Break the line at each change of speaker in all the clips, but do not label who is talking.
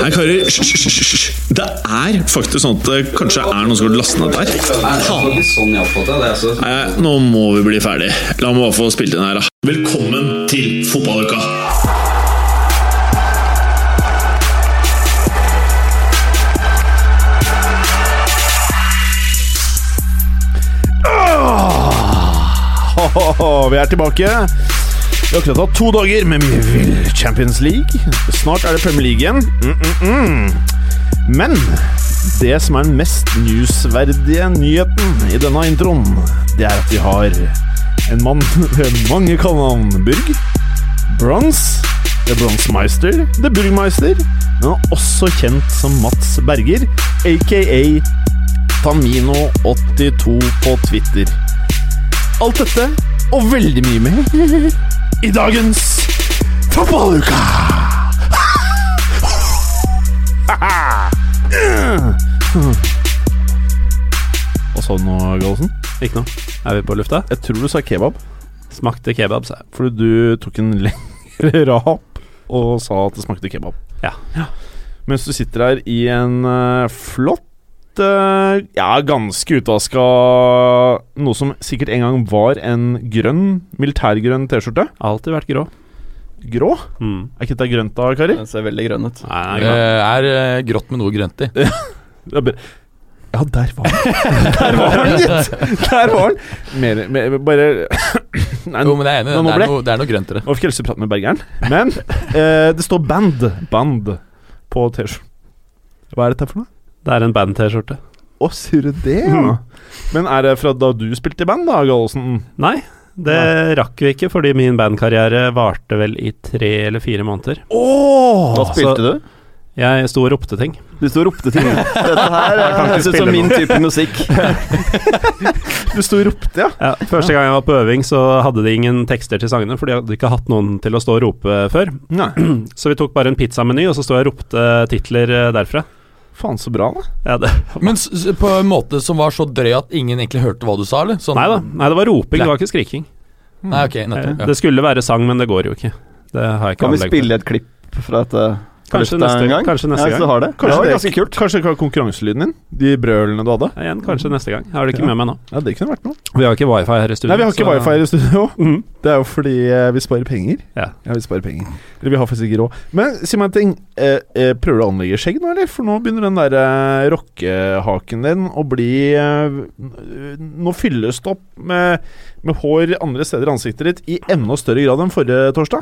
Nei, karer, hysj, hysj, hysj, hysj. Det er faktisk sånn at det kanskje er noen som har lastet ned der.
Sånn jeg oppfatter det. Altså.
Nei, nå må vi bli ferdig. La meg bare få spilt inn her, da. Velkommen til fotballuka!
Åh, vi er tilbake. Vi har akkurat hatt to dager med mye vill Champions League. Snart er det Premier League igjen. Mm, mm, mm. Men det som er den mest newsverdige nyheten i denne introen, det er at vi har en mann med mange kallenavn. Burg. Bronze. The Bronsemeister. The Burgmeister. Men han er også kjent som Mats Berger, aka Tamino82 på Twitter. Alt dette og veldig mye mer i dagens Fotballuka! Hva sa du nå, Gallosen?
Ikke noe. Er vi på lufta?
Jeg tror du sa kebab,
Smakte kebab, sa jeg.
fordi du tok en lengre rap og sa at det smakte kebab.
Ja.
Mens du sitter her i en eh, flott eh, ja, ganske utvaska Noe som sikkert en gang var en grønn, militærgrønn T-skjorte.
Alltid vært grå.
Grå?
Mm.
Er ikke dette grønt da, karer?
Den ser veldig grønn ut.
Nei,
Det
nei, nei.
er eh, grått med noe grønt i.
Det er bare- Ja, der var den! Der var den, gitt! Der var den! Mer, mer bare Nei,
Jo, men jeg er enig, i
Nå
det.
må
det
ble-
er noe, det er noe grønt i det.
nå fikk jeg lyst til å prate med bergeren. Men eh, det står band. Band på T-skjorten. Hva er dette for noe?
Det er en band-T-skjorte.
Å, sier du det, ja? Men er det fra da du spilte i band, da, Gallosen?
Nei, det rakk vi ikke, fordi min bandkarriere varte vel i tre eller fire måneder.
Oh,
Da spilte
du?
Jeg sto og ropte ting.
Du står og ropte ting. Dette her eh,
kan ikke
høres ut
spille
som min
noe.
type musikk.
Du sto og ropte, ja?
Ja, første gang jeg var på øving, så hadde de ingen tekster til sangene, for de hadde ikke hatt noen til å stå og rope før.
Nei.
Så vi tok bare en pizzameny, og så sto jeg og ropte titler eh, derfra.
Faen, så bra, da.
Ja, det,
Men s s- på en måte som var så drøy at ingen egentlig hørte hva du sa, eller? Sånn,
nei da, nei, det var roping, det var ikke skriking.
Nei, ok, nettopp.
Det
Ja.
skulle være sang, men det går jo ikke. Det har jeg ikke
Kan vi
anlegg for.
spille et klipp fra dette? på
Kanskje
lufta
neste-
en gang?
kanskje neste
ja,
gang.
Så har det.
Kanskje
det var
det-
ganske kult.
Kanskje det var konkurranselyden din? De brølene du hadde?
Ja, Igjen, kanskje neste gang. Jeg har det ikke
Ja.
med meg nå.
Ja, Det kunne vært noe.
Vi har ikke wifi her i studio.
Nei, vi har ikke wifi her i studio. Mm.
Mhm.
Det er jo fordi eh, vi sparer penger.
Ja.
vi sparer penger. Eller vi har faktisk ikke råd. Men si meg en ting. Eh, eh, prøver du å anlegge skjegg nå, eller? For nå begynner den der eh, rockehaken din å bli eh, Nå fylles det opp med, med hår andre steder i ansiktet ditt i enda større grad enn forrige torsdag.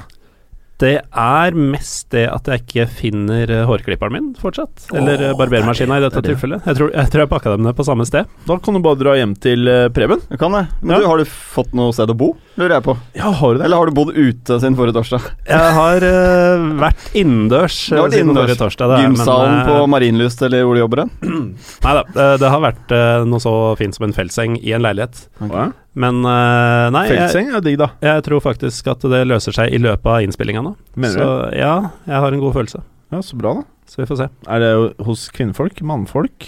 Det er mest det at jeg ikke finner eh, hårklipperen min fortsatt. Eller eh, barbermaskina i dette tilfellet. Jeg tror jeg, tror jeg pakka dem ned på samme sted.
Da kan du bare dra hjem til eh, Preben.
Du kan det. Men
Ja.
du, har du fått noe sted å bo, lurer jeg på?
Ja, har du det?
Eller har du bodd ute siden forrige torsdag?
Jeg har eh, vært innendørs
Du har
eh,
vært
siden
innendørs.
forrige torsdag. det er, men,
Gymsalen
eh,
på Marienlyst eller hvor du jobber hen?
Nei da, eh, det har vært eh, noe så fint som en feltseng i en leilighet.
Ja.
Men eh, nei, jeg,
Feltseng er digg, da.
jeg tror faktisk at det løser seg i løpet av innspillinga nå.
Mener
så ja, jeg har en god følelse.
du? Ja, så bra, da.
Så vi får se.
Er det jo hos kvinnfolk? Mannfolk?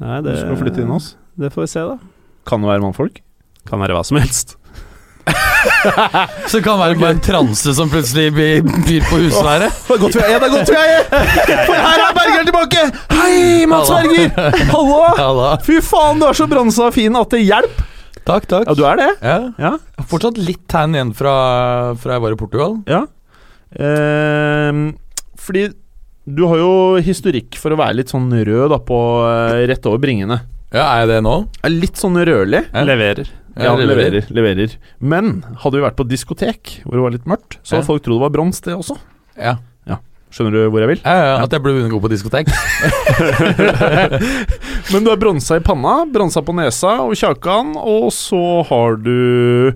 Nei,
Du skal flytte inn hos?
det får vi se, da.
Kan det være mannfolk?
Kan være hva som helst.
Så det kan være bare en transe som plutselig byr, byr på husværet.
Det er godt vi er det er godt vi er For her er Berger tilbake! Hei, Mats
Hallo.
Berger! Hallo!
Ja da.
Fy faen, du er så bransa fin at det hjelper!
Takk, takk.
Ja, du er det.
Ja.
Ja.
Jeg har Fortsatt litt tan igjen fra, fra jeg var i Portugal.
Ehm, fordi du har jo historikk for å være litt sånn rød da, på eh, rett over bringene.
Ja, er jeg det nå?
Er litt sånn rødlig.
Ja.
Leverer.
Jeg
Ja,
leverer.
Eh, leverer. leverer. Men hadde vi vært på diskotek hvor det var litt mørkt, så
Ja.
hadde folk trodd det var brons, det også.
Ja.
Skjønner du hvor jeg vil?
Ja, ja, At jeg ble god på diskotek.
Men du er bronsa i panna, bronsa på nesa og kjakan, og så har du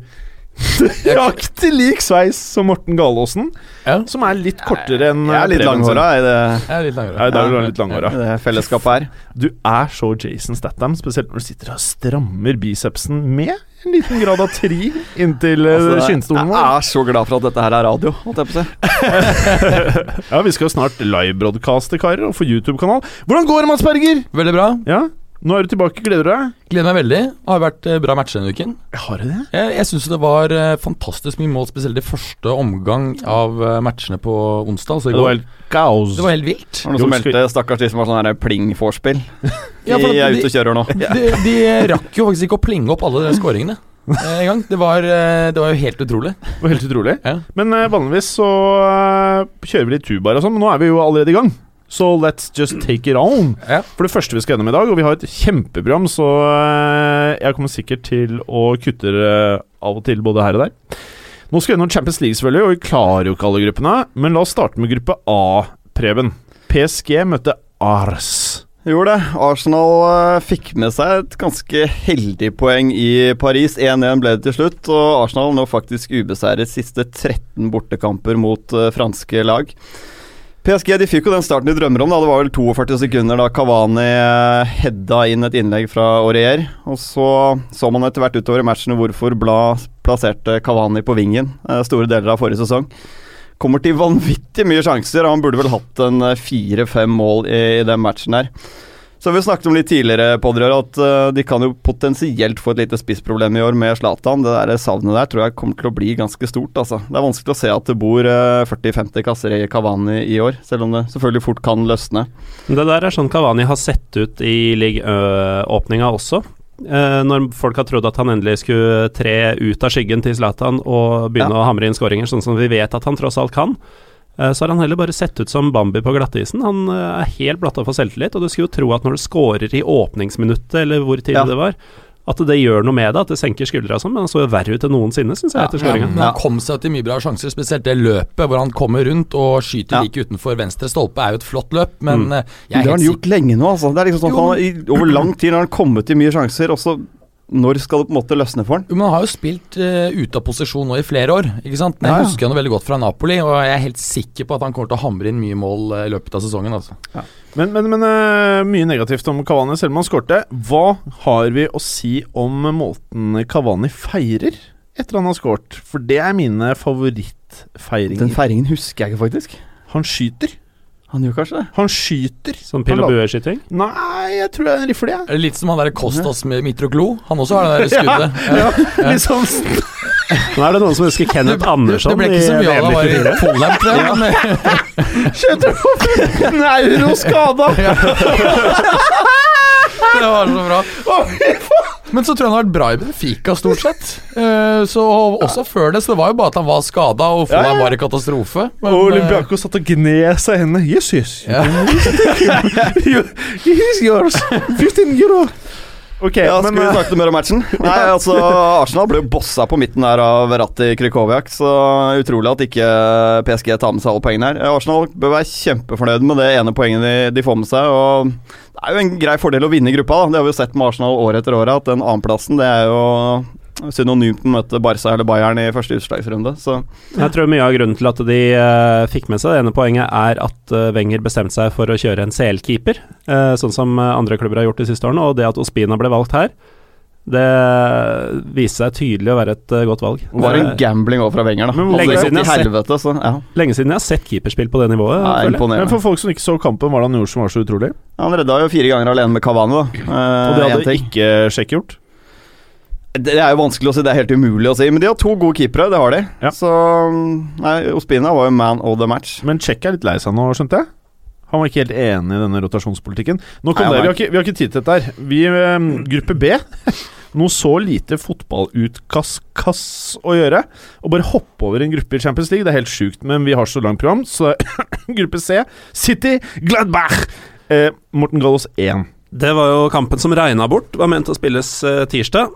Nøyaktig lik sveis som Morten Galaasen,
Ja.
som er litt kortere enn eh,
Jeg er litt
Preben sin.
langhåra i det,
Jeg er litt
Ja,
langere.
i dag er du litt langhåra.
i det fellesskapet her.
Du er så Jason Statham, spesielt når du sitter og strammer bicepsen med en liten grad av tri inntil
Altså,
altså,
jeg
skinnstolen. vår.
er så glad for at dette her er radio, holdt jeg på å si.
Ja, vi skal snart livebroadcaste, karer, og få YouTube-kanal. Hvordan går det, Mats Berger?
Veldig bra.
Ja, Nå er du tilbake. Gleder du deg?
Gleder meg veldig. Det har vært eh, bra matcher denne uken.
Har du det?
Jeg, jeg syns det var eh, fantastisk mye mål, spesielt i første omgang av eh, matchene på onsdag. Altså i
Det var
går.
helt kaos.
Det var helt
Var
vilt.
det
Jo,
noen som
skal
meldte stakkars de som har sånn her pling-vorspiel?
Ja,
de
for at
er
de-
ute og kjører nå.
De, de rakk jo faktisk ikke å plinge opp alle de skåringene eh, en gang. Det var, eh, det var jo helt utrolig.
Det var helt utrolig.
Ja.
Men eh, vanligvis så eh, kjører vi litt tubaer og sånn, men nå er vi jo allerede i gang. Så let's just take it on.
Ja.
For det første vi skal gjennom i dag, og vi har et kjempeprogram, så eh, jeg kommer sikkert til å kutte eh, av og til både her og der. Nå skal vi gjennom Champions League, selvfølgelig, og vi klarer jo ikke alle gruppene. Men la oss starte med gruppe A, Preben. PSG møtte Ars.
Gjorde det. Arsenal eh, fikk med seg et ganske heldig poeng i Paris. 1-1 ble det til slutt, og Arsenal nå faktisk ubeseiret siste 13 bortekamper mot eh, franske lag. PSG de fikk jo den starten de drømmer om. da, Det var vel 42 sekunder da Kavani eh, hedda inn et innlegg fra Aurier. Og så så man etter hvert utover i matchen hvorfor Bla plasserte Kavani på vingen eh, store deler av forrige sesong. Kommer til vanvittig mye sjanser. og Han burde vel hatt en eh, fire-fem mål i, i den matchen her. Så har vi snakket om litt tidligere Podrør, at eh, de kan jo potensielt få et lite spissproblem i år med Zlatan. Det der savnet der tror jeg kommer til å bli ganske stort. altså. Det er vanskelig å se at det bor eh, 40-50 kasser i Kavani i år, selv om det selvfølgelig fort kan løsne.
Det der er sånn Kavani har sett ut i ligaåpninga også. Eh, når folk har trodd at han endelig skulle tre ut av skyggen til Zlatan og begynne å hamre inn skåringer, sånn som vi vet at han tross alt kan, eh, så har han heller bare sett ut som Bambi på glattisen. Han eh, er helt blatta for selvtillit, og du skulle jo tro at når du skårer i åpningsminuttet, eller hvor tidlig
Ja.
det var, at det gjør noe med det, at det senker skuldra og sånn, men han så jo verre ut enn noensinne, syns jeg, etter skåringa.
Men han kom seg til mye bra sjanser, spesielt det løpet hvor han kommer rundt og skyter
Ja.
like utenfor venstre stolpe, er jo et flott løp, men eh, jeg
Det har
er
han
helt sikker
gjort lenge nå, altså. Det er liksom sånn at han, i, Over lang tid har han kommet til mye sjanser, og så når skal det på en måte løsne for han?
Jo, Men han har jo spilt eh, ute av posisjon nå i flere år, ikke sant? Men
Ja,
jeg
ja.
husker han jo veldig godt fra Napoli, og jeg er helt sikker på at han kommer til å hamre inn mye mål eh, i løpet av sesongen, altså.
Men, men, men eh, mye negativt om Kavani, selv om han skårte. Hva har vi å si om måten Kavani feirer etter han har skåret? For det er mine favorittfeiringer.
Den feiringen husker jeg ikke, faktisk.
han skyter.
Han gjør kanskje det.
Han skyter.
Sånn pil- og
Han la-
bueskyting.
Nei, jeg tror det er en rifle, jeg.
Er det Litt som han der Kostas med Mitroglo. Han også har det der skuddet.
Ja, litt sånn st-
Nå er det noen som husker
Det,
Kenneth
det,
Andersson
ble ikke så mye av det,
i
det var i Polheim, tror jeg. men-
Skjønner du? En euro skada!
Det var så bra. Men så tror jeg han har vært bra i Benfica, stort sett. Eh, Så og også før det, så det var jo bare at han var skada, og
Ja, ja.
Folheim var i katastrofe. Men,
Og
eh,
Olympiakos satt og gned seg i hendene. Yes, yes.
ja.
You- Here's yours. 15 euro. Ok,
Ja,
men
Skal vi
eh,
snakke mer om matchen? Nei, altså, Arsenal ble jo bossa på midten her av Verratti Krykowiak, så utrolig at ikke PSG tar med seg alle poengene her. Eh, Arsenal bør være kjempefornøyd med det ene poenget de, de får med seg. og Det er jo en grei fordel å vinne i gruppa. da. Det har vi jo sett med Arsenal år etter år, at den annenplassen det er jo synonymt med å møte Barca eller Bayern i første utslagsrunde. Så
Jeg tror mye av grunnen til at de eh, fikk med seg det ene poenget, er at eh, Wenger bestemte seg for å kjøre en CL-keeper, eh, sånn som eh, andre klubber har gjort de siste årene. Og det at Ospina ble valgt her, det viste seg tydelig å være et eh, godt valg.
det var en gambling over fra Wenger, da.
Men
Hadde
lenge
det
siden
gått
jeg har
til
sett-
helvete, så ja.
Lenge siden jeg har sett keeperspill på det nivået.
ja
føler jeg.
men
imponerende.
for folk som ikke så kampen, hva var det han gjorde som var så utrolig?
Han redda jo fire ganger alene med Cavani, da. Eh,
Og det
en
hadde
ting.
ikke Sjekk gjort.
Det er jo vanskelig å si, det er helt umulig å si. Men de har to gode keepere, det har de.
Ja.
Så nei, Ospina var jo man of the match.
Men Check er litt lei seg nå, skjønte jeg? Han var ikke helt enig i denne rotasjonspolitikken. Nok
Nei,
om det,
han
vi
er
har, ikke, vi har ikke tid til dette her. Vi, eh, gruppe B Noe så lite fotballutkast-kass å gjøre. Å bare hoppe over en gruppe i Champions League, det er helt sjukt. Men vi har så langt program, så gruppe C City Gladbach! Eh, Morten Gallos 1.
Det var jo kampen som regna bort, var ment å spilles eh, tirsdag.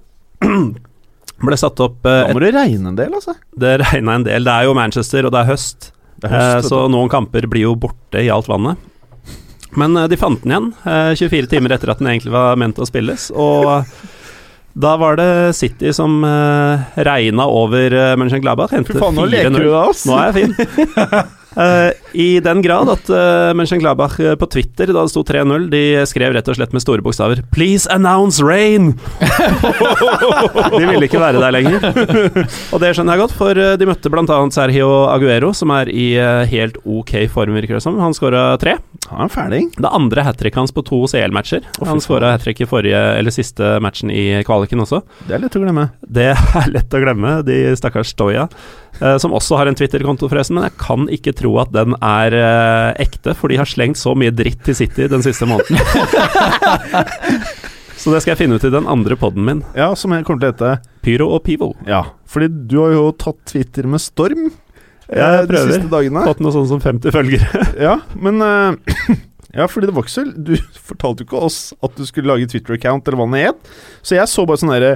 ble satt opp eh,
Da må det regne en del, altså.
et, Det regna en del. Det er jo Manchester, og det er høst.
Det er høst,
eh, så noen kamper blir jo borte i alt vannet. Men eh, de fant den igjen, eh, 24 timer etter at den egentlig var ment å spilles. Og eh, da var det City som eh, regna over eh, Mönchengladbach.
vet du.
Hentet
Fy faen, nå leker
4-0.
du deg, ass.
Nå er jeg fin. Eh, I den grad at uh, Mönchengladbach eh, på Twitter, da det sto 3-0, de skrev rett og slett med store bokstaver 'Please announce rain'! de ville ikke være der lenger. og det skjønner jeg godt, for eh, de møtte bl.a. Sergio Aguero, som er i eh, helt ok form, virker det som. Han skåra tre.
Han er en fæling.
Det andre hat tricket hans på to CL-matcher.
fy
han
faen.
skåra hat trick i forrige, eller siste matchen i kvaliken også.
Det er lett å glemme.
Det er lett å glemme, de stakkars Stoya. eh, som også har en Twitter-konto, forresten. Men jeg kan ikke tro at den er eh, ekte, for de har slengt så mye dritt til City den siste måneden. så det skal jeg finne ut i den andre poden min.
Ja, som jeg kommer til å hete.
Pyro og Pivo.
Ja, fordi du har jo tatt Twitter med storm eh,
Jeg
de
prøver.
siste dagene.
Fått noe sånn som 50 følgere.
Ja, men eh, Ja, fordi det var ikke så Du fortalte jo ikke oss at du skulle lage Twitter-account, eller hva det het. Så jeg så bare sånn derre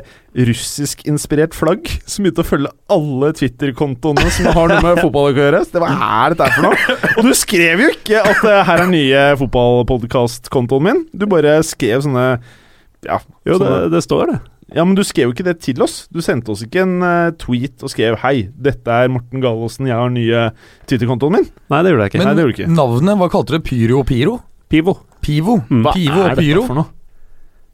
russisk-inspirert flagg som begynte å følge alle Twitter-kontoene som har noe med fotball å gjøre. Så det var er dette her for noe? Og du skrev jo ikke at eh, 'her er nye fotballpodkast-kontoen min'. Du bare skrev sånne ja,
Jo, det,
sånne-
det står det.
ja, men du skrev jo ikke det til oss. Du sendte oss ikke en eh, tweet og skrev 'Hei, dette er Morten Gallosen, jeg har nye Twitter-kontoen min'.
Nei, det gjorde jeg ikke.
Nei,
Men
det gjorde du ikke.
navnet, hva kalte du det? Pyro og Piro?
Pivo.
Pivo?
Mm. Hva
Pivo og Pyro?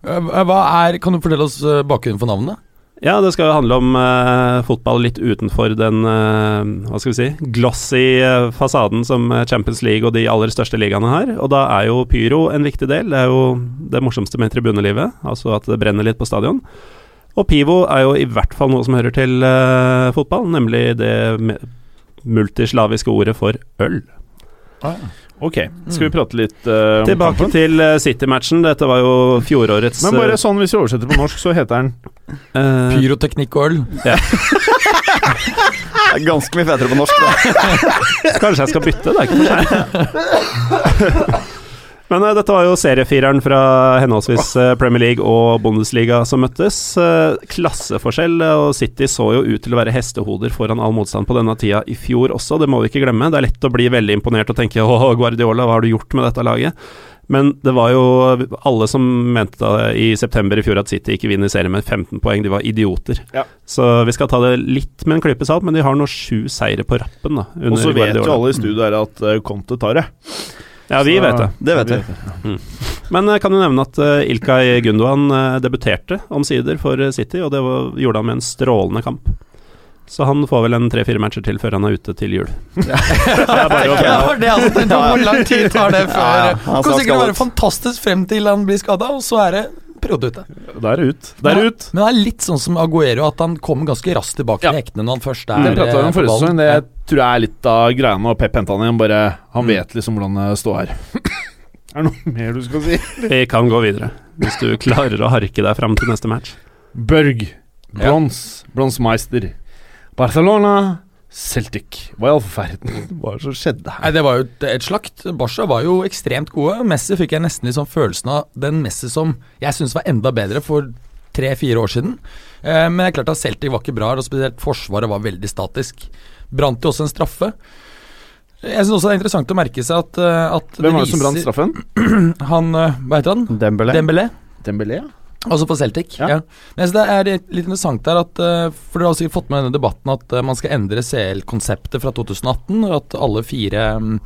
Eh, Hva er, kan du fortelle oss eh, bakgrunnen for navnet?
Ja, det skal jo handle om eh, fotball litt utenfor den eh, hva skal vi si, glossy eh, fasaden som eh, Champions League og de aller største ligaene har. Og da er jo pyro en viktig del. Det er jo det morsomste med tribunelivet, altså at det brenner litt på stadion. Og pivo er jo i hvert fall noe som hører til eh, fotball, nemlig det me- multislaviske ordet for øl.
Ok, skal vi prate litt eh, om
Tilbake
kampen?
til eh, City-matchen. Dette var jo fjorårets
Men bare sånn, hvis vi oversetter på norsk, så heter den
eh,
Pyroteknikk og øl?
Det er ganske mye fetere på norsk. Da.
Kanskje jeg skal bytte, det er ikke for seint. Men eh, dette var jo seriefireren fra henholdsvis eh, Premier League og Bundesliga som møttes. Eh, klasseforskjell, eh, og City så jo ut til å være hestehoder foran all motstand på denne tida i fjor også, det må vi ikke glemme. Det er lett å bli veldig imponert og tenke 'Å, Guardiola, hva har du gjort med dette laget?' Men det var jo alle som mente da i september i fjor at City ikke vinner serien med 15 poeng, de var idioter.
Ja.
Så vi skal ta det litt med en klype salt, men de har nå sju seire på rappen, da. under
Og så vet jo
Guardiola.
alle i studio her at eh, Conte tar det.
Ja, vi
Så-
vet det.
Det vet vi.
Men jeg kan jo nevne at eh, Ilkay Gundogan eh, debuterte omsider for eh, City, og det var, gjorde han med en strålende kamp. Så han får vel en tre-fire matcher til før han er ute til jul.
Ja, det var det jeg også tenkte på. Hvor lang tid tar det før
Ja, ja.
Det
Han
altså,
kan
sa
sikkert
skadet.
være fantastisk frem til han blir skada, og så er det periode ute.
Da er det ut. Da er det ut.
Men det er litt sånn som Aguero, at han kommer ganske raskt tilbake til hektene når han først er
Det pratet vi
eh,
om
på
forrige sesong.
ballen.
Det tror jeg er litt av greia med å Pep hente han igjen. Bare Han vet liksom hvordan det står her. er det noe mer du skal si?
Vi kan gå videre, hvis du klarer å harke deg fram til neste match.
Børg. Brons. Bronsmeister. Barcelona. Celtic. Hva i all verden var det som skjedde
Nei, Det var jo et- et slakt. Barca var jo ekstremt gode. Messi fikk jeg nesten litt sånn følelsen av den Messi som jeg syns var enda bedre for tre-fire år siden. Eh, men det er klart at Celtic var ikke bra, og spesielt forsvaret var veldig statisk. Brant jo også en straffe. Jeg syns også det er interessant å merke seg at, eh, at det
Hvem var det som brant
viser-
straffen?
Han, eh, hva heter han?
Dembélé.
Dembélé?
Dembélé?
Altså for Celtic.
Ja.
Ja. Men jeg synes det er litt litt interessant her at eh, For dere har sikkert fått med denne debatten at eh, man skal endre CL-konseptet fra 2018, og at alle fire mm,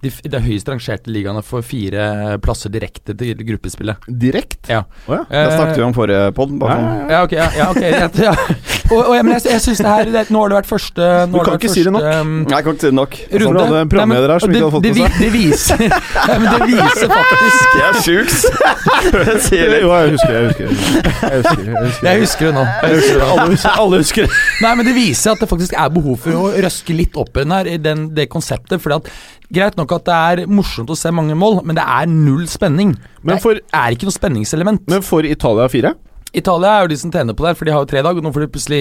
de, f- de høyest rangerte ligaene får fire plasser direkte til gruppespillet.
Direkte?
Ja.
Å ja.
Det snakket vi om forrige pod.
Ja,
Bare
ja,
sånn.
ja.
Ja, ok. Ja, ja, ok, greit, ja. Og, og, ja, men jeg, jeg syns det her det, Nå har det vært første nå
Du
har
kan
vært
ikke si det nok.
første, mm,
Nei, jeg kan ikke si det nok.
Som du hadde
Runde.
en
Nei, men
programleder her som ikke
det-
hadde fått
det
med
vi- Det viser, Nei, men det viser faktisk
Det er sjukt! Det sier litt.
Jo, jeg husker det. Jeg husker det. Jeg husker det. Jeg husker det.
Jeg husker det nå.
Jeg husker det. Alle husker, alle husker det.
Nei, men det viser at det faktisk er behov for å røske litt opp igjen her i den, det konseptet. Fordi at Greit nok at det er morsomt å se mange mål, men det er null spenning.
Men
det
for-
er ikke noe spenningselement.
Men for Italia 4
Italia er jo de som tjener på det her, for de har jo tre dag, og nå får de plutselig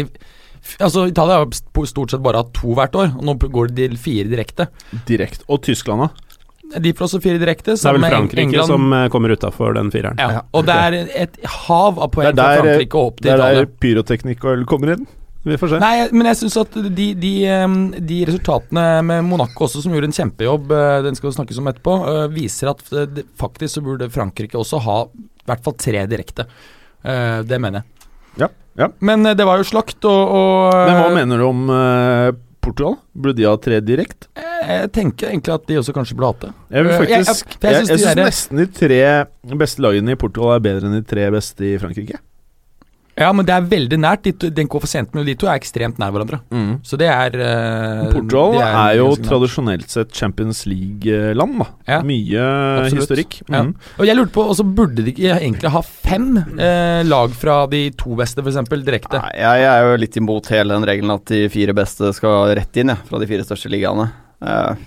Altså, Italia har jo p- stort sett bare hatt to hvert år, og nå p- går de til fire direkte.
direkte Og Tyskland, da?
De får også fire direkte.
Så det er
sammen
vel
med
Frankrike
England.
som eh, kommer utafor den fireren.
ja, Og det er et hav av
Det
poeng
er
fra
der,
Frankrike og opp
det
til
er der
Italia.
pyroteknikk og øl kommer inn.
Vi får se.
Nei, jeg- men jeg syns at de, de, ehm, de resultatene med Monaco også, som gjorde en kjempejobb, eh, den skal det snakkes om etterpå, eh, viser at eh, det- faktisk så burde Frankrike også ha i hvert fall tre direkte. Eh, Det mener jeg.
Ja, ja.
Men eh, det var jo slakt, og, og
Men hva mener du om eh, Portugal? Burde de ha tre direkte?
Jeg, eh, jeg tenker egentlig at de også kanskje burde hatt det.
Jeg vil
Øh, jeg-
faktisk
jeg- for jeg
Jeg, jeg,
synes de
syns
der-
nesten de tre beste lagene i Portugal er bedre enn de tre beste i Frankrike.
Ja, men det er veldig nært. De to, den koeffisienten mellom de to er ekstremt nær hverandre.
Mm.
Så det er eh,
Portugal
de
er, jo
ganske nært.
tradisjonelt sett Champions League-land, da.
Ja.
Mye
Absolutt.
historikk.
Ja.
Mm.
Og jeg lurte på, og så burde de ikke egentlig ha fem eh, lag fra de to beste, f.eks. direkte?
Nei, jeg, jeg er jo litt imot hele den regelen at de fire beste skal rett inn, jeg, fra de fire største ligaene. Uh,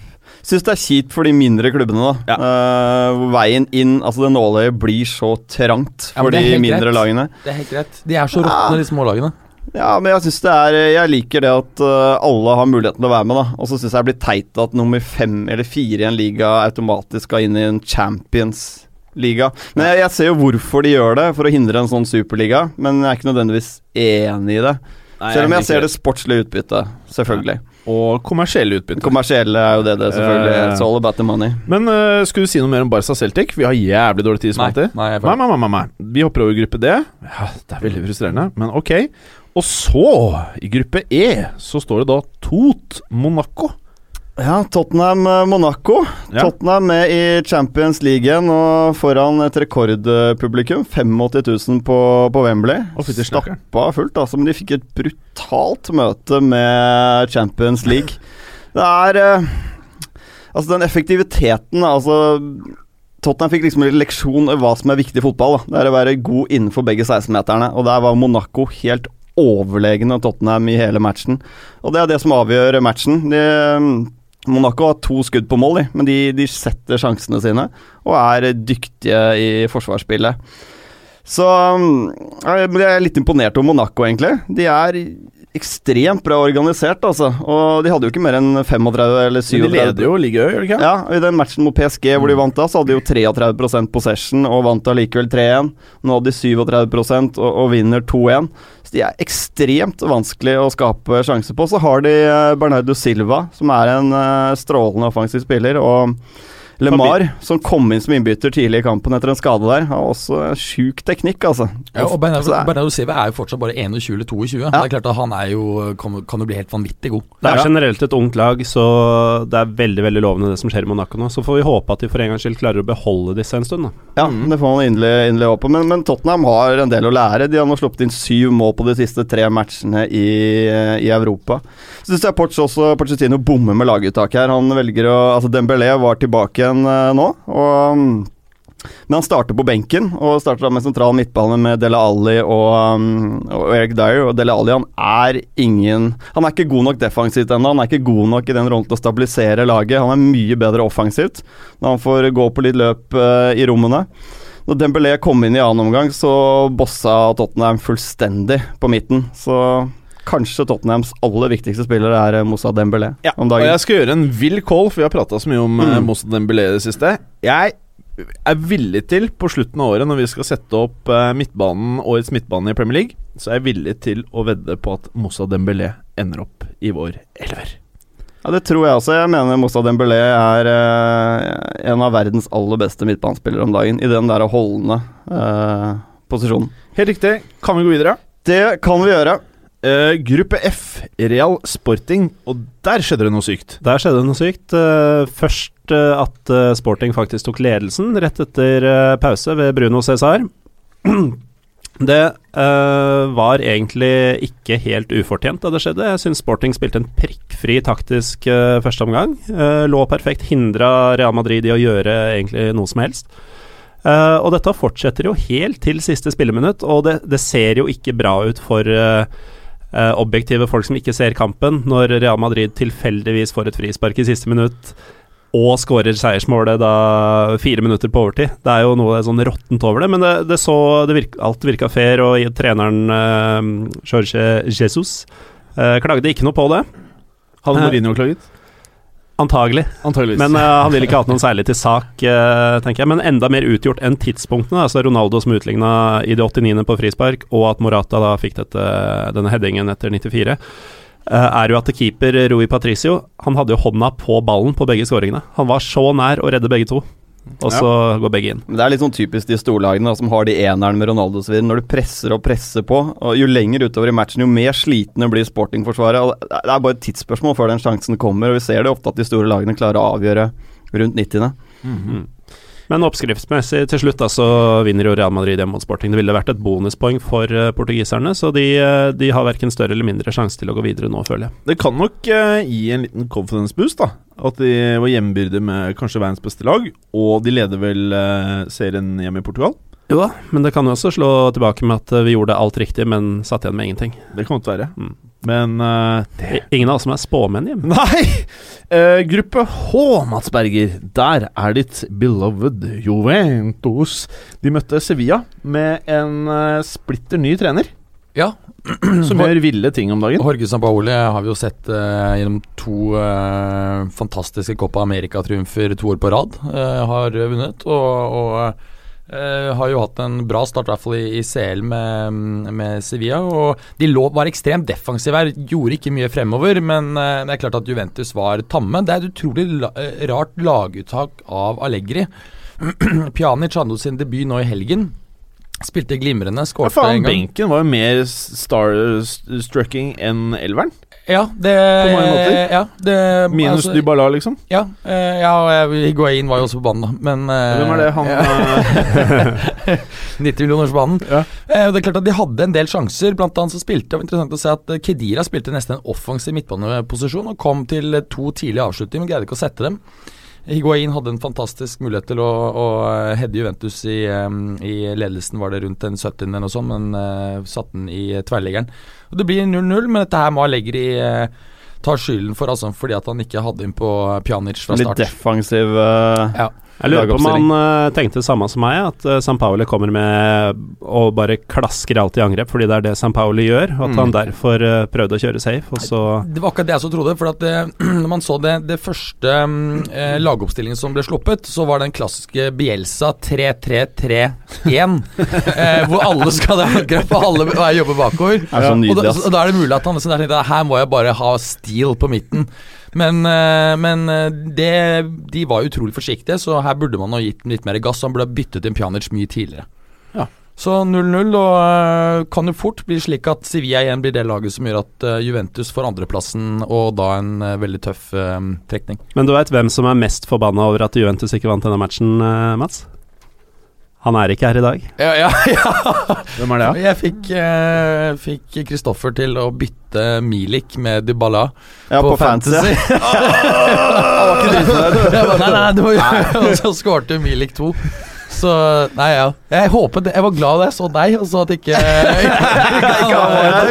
Syns det er kjipt for de mindre klubbene, da. Eh, hvor veien inn, altså det nåløyet, blir så trangt
Ja,
for
men det er
de
helt
mindre
greit.
lagene.
Det er helt greit. De er så råtne, de små lagene.
Ja, men jeg synes det er eh, Jeg liker det at øh, alle har muligheten til å være med, da. Og så syns jeg det blir teit at nummer fem eller fire i en liga automatisk skal inn i en Champions-liga. Men jeg, jeg ser jo hvorfor de gjør det, for å hindre en sånn superliga. Men jeg er ikke nødvendigvis enig i det. Selv om jeg ser det sportslige utbyttet, selvfølgelig.
Og kommersielle
Det
utbytte.
kommersielle er jo det, det selvfølgelig.
Eh.
It's all about the money.
Men øh, skulle du si noe mer om Barca Celtic? Vi har jævlig dårlig tid. som alltid.
nei, jeg er
Nei,
ferdig.
nei, nei, nei, nei. Vi hopper over gruppe D. Ja, Det er veldig frustrerende, men ok. Og så, i gruppe E, så står det da Tot Monaco.
Ja, Tottenham-Monaco.
Ja.
Tottenham med i Champions League igjen og foran et rekordpublikum. 85 000 på, på Wembley.
Å, fytti snakkeren.
Stappa fullt, altså, men de fikk et brutalt møte med Champions League. Det er eh, Altså, den effektiviteten Altså, Tottenham fikk liksom en leksjon i hva som er viktig i fotball. Da. Det er å være god innenfor begge 16-meterne, og der var Monaco helt overlegne Tottenham i hele matchen. Og det er det som avgjør matchen. De, Monaco har to skudd på mål, de, men de, de setter sjansene sine og er dyktige i forsvarsspillet. Så um, jeg men jeg er litt imponert over Monaco, egentlig. De er ekstremt bra organisert, altså. Og de hadde jo ikke mer enn 35 eller 37
Men de leder jo ligaen, gjør de ikke?
ja, og I den matchen mot PSG hvor de vant da, så hadde de jo 33 possession og vant allikevel 3-1. Nå hadde de 37 og, og vinner 2-1. Så de er ekstremt vanskelig å skape sjanser på. Så har de eh, Bernardo Silva, som er en eh, strålende offensiv spiller, og Lemar, som kom inn som innbytter tidlig i kampen etter en skade der, har også sjuk teknikk, altså.
Ja, og Bernardo,
Så det er-
Bernardo Silva er jo fortsatt bare 21 eller 22. Det er klart at Han er jo, kan, kan jo bli helt vanvittig god.
Det er
Ja.
generelt et ungt lag, så det er veldig veldig lovende det som skjer i Monaco nå. Så får vi håpe at de for en gangs skyld klarer å beholde disse en stund. Da.
Ja, det får man inderlig, inderlig håpe. Men, men Tottenham har en del å lære. De har nå sluppet inn syv mål på de siste tre matchene i, eh, i Europa. Så syns jeg Porch også Pochettino bommer med laguttak her. Han velger å Altså, Dembélé var tilbake igjen eh, nå, og mm, men han starter på benken, og starter da med sentral midtbane med Dele Alli og, um, og Eric Dyer. Og Dele Alli han er ingen Han er ikke god nok defensivt ennå. Han er ikke god nok i den rollen til å stabilisere laget. Han er mye bedre offensivt når han får gå på litt løp eh, i rommene. Når Dembélé kom inn i annen omgang, så bossa Tottenham fullstendig på midten. Så kanskje Tottenhams aller viktigste spiller er eh, Moussa Dembélé
Ja,
om
Og
dagen.
jeg skal gjøre en vill call, for vi har prata så mye om mm. Moussa Dembélé i det siste. Jeg er villig til, på slutten av året, når vi skal sette opp eh, midtbanen, årets midtbane i Premier League, så er jeg villig til å vedde på at Moussa Dembélé ender opp i vår elver.
Ja, Det tror jeg også. Jeg mener Moussa Dembélé er eh, en av verdens aller beste midtbanespillere om dagen, i den der holdende eh, posisjonen.
Helt riktig. Kan vi gå videre?
Det kan vi gjøre.
Eh, gruppe F, Real Sporting, og der skjedde det noe sykt.
Der skjedde det noe sykt. Eh, Først eh, at eh, Sporting faktisk tok ledelsen rett etter eh, pause ved Bruno Cæsar. Det eh, var egentlig ikke helt ufortjent da det skjedde. Jeg syns Sporting spilte en prikkfri taktisk uh, førsteomgang. Uh, lå perfekt, hindra Real Madrid i å gjøre egentlig noe som helst. Eh, og dette fortsetter jo helt til siste spilleminutt, og det, det ser jo ikke bra ut for eh, eh, objektive folk som ikke ser kampen, når Real Madrid tilfeldigvis får et frispark i siste minutt og skårer seiersmålet da fire minutter på overtid. Det er jo noe sånn råttent over det, men det, det så det virk, Alt virka fair, og i- treneren eh, Jorge Jesus eh, klagde ikke noe på det,
Hadde
Eh,
Mourinho klaget?
antagelig.
Antageligvis.
Men eh, han ville ikke hatt noen særlig til sak, eh, tenker jeg. Men enda mer utgjort enn tidspunktene. Altså Ronaldo som utligna i det 89. på frispark, og at Morata da fikk dette, denne headingen etter 94. eh, er jo at keeper Rui Patricio Han hadde jo hånda på ballen på begge skåringene. Han var så nær å redde begge to. og så går begge inn.
Men Det er litt sånn typisk de storlagene da, som har de enerne med Ronaldo osv. Når du presser og presser på, og jo lenger utover i matchen, jo mer slitne blir Sporting-forsvaret. Og Det det er bare et tidsspørsmål før den sjansen kommer, og vi ser det ofte at de store lagene klarer å avgjøre rundt 90.
Mhm.
Men oppskriftsmessig til slutt da, så vinner jo Real Madrid hjemme mot Sporting. Det ville vært et bonuspoeng for eh, portugiserne, så de, eh, de har verken større eller mindre sjanse til å gå videre nå, føler jeg.
Det kan nok eh, gi en liten confidence boost, da. At de var hjemmebyrde med kanskje verdens beste lag, og de leder vel eh, serien hjemme i Portugal.
Jo da, men det kan jo også slå tilbake med at eh, vi gjorde alt riktig, men satt igjen med ingenting.
Det kan godt være.
Mm.
Men eh, det
I- Ingen av oss som er spåmenn hjemme.
Nei! Eh, gruppe H, Mats Berger. Der er ditt beloved Juventus. De møtte Sevilla med en eh, splitter ny trener,
Ja, Mm.
som gjør ville ting om dagen.
Jorge Sampaoli har vi jo sett eh, gjennom to eh, fantastiske Copa America-triumfer to år på rad. eh, har vunnet og, og eh, har jo hatt en bra start, i hvert fall i, i CL med, med Sevilla. Og de lå, var ekstremt defensive her, gjorde ikke mye fremover. Men eh, det er klart at Juventus var tamme. Det er et utrolig la, eh, rart laguttak av Allegri. Pjanic hadde jo sin debut nå i helgen. Spilte glimrende,
Ja,
skårte
faen,
en gang.
benken var jo mer starstrucking enn elveren.
Ja, det, eh,
På mange måter.
Ja, det,
Minus
altså-
Dybala, liksom.
Ja, eh, ja og jeg- Higuain var jo også på banen, da. Men eh,
Hvem er det han eh,
90 millioners banen.
Ja.
Eh, og det er klart at De hadde en del sjanser, blant annet så spilte det var interessant å se at eh, Kedira spilte nesten en offensiv midtbaneposisjon og kom til eh, to tidlige avslutninger, men greide ikke å sette dem. Higuain hadde en fantastisk mulighet til å, å eh, heade Juventus i, eh, i ledelsen, var det rundt en 70 eller noe sånt, men eh, satte den i eh, tverrliggeren. Og Det blir 0-0, men dette her må Allegri eh, ta skylden for, altså, fordi at han ikke hadde inn på eh, Pjanic fra
Litt
start.
defensiv eh,
Ja.
Jeg lurer på om han
Lagoppstilling.
eh, tenkte det samme som meg, at uh, San Paoli kommer med og bare klasker alt i angrep, fordi det er det San Paoli gjør, og at han derfor eh, prøvde å kjøre safe, og så
Det var akkurat det jeg også trodde. For at det, når man så det, det første mm, eh, lagoppstillingen som ble sluppet, så var den klassiske Bielsa 3-3-3-1. eh, hvor alle skal ha angrep, og alle er- jobber bakover.
er så
og,
nydelig,
da,
ass.
så, da er det mulig at han liksom der tenkte her må jeg bare ha stil på midten. Men, eh, men eh, det, de var utrolig forsiktige, så her burde man ha gitt dem litt mer gass. Han burde ha byttet inn Pjanic mye tidligere.
Ja.
Så 0-0, og eh, kan jo fort bli slik at Sevilla igjen blir det laget som gjør at eh, Juventus får andreplassen, og da en eh, veldig tøff eh, trekning.
Men du veit hvem som er mest forbanna over at Juventus ikke vant denne matchen, eh, Mats? Han er ikke her i dag.
Ja, ja, ja.
Hvem er det, da?
Jeg fikk, eh, fikk Kristoffer til å bytte Milik med Dybala.
Ja, på, fantasy.
Jeg bare, nei, nei, du må gjøre Og så skårte Milik to. Så Nei, ja. Jeg håpet Jeg var glad da jeg så deg, og så at ikke,
Jeg,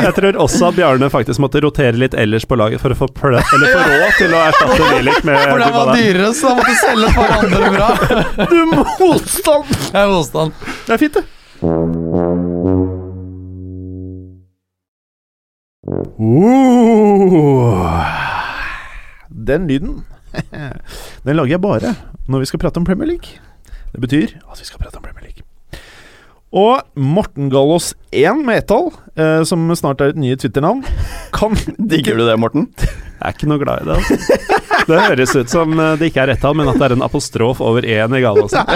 jeg tror også at Bjarne faktisk måtte rotere litt ellers på laget for å få, plø eller få råd til å erstatte Milik med
For den var
Dybala.
dyrere, så da måtte jeg selge for andre bra.
Du motstand!
Jeg er motstand.
Det er fint, det. Oh. Den lyden Den lager jeg bare når vi skal prate om Premier League. Det betyr at vi skal prate om Premier League. Og Morten Gallås 1 med ett-tall, eh, som snart er et nye Twitter-navn, kan
Digger du det, Morten?
Jeg er ikke noe glad i det. Altså. Det høres ut som eh, det ikke er rett tall, men at det er en apostrof over én i Gallosen.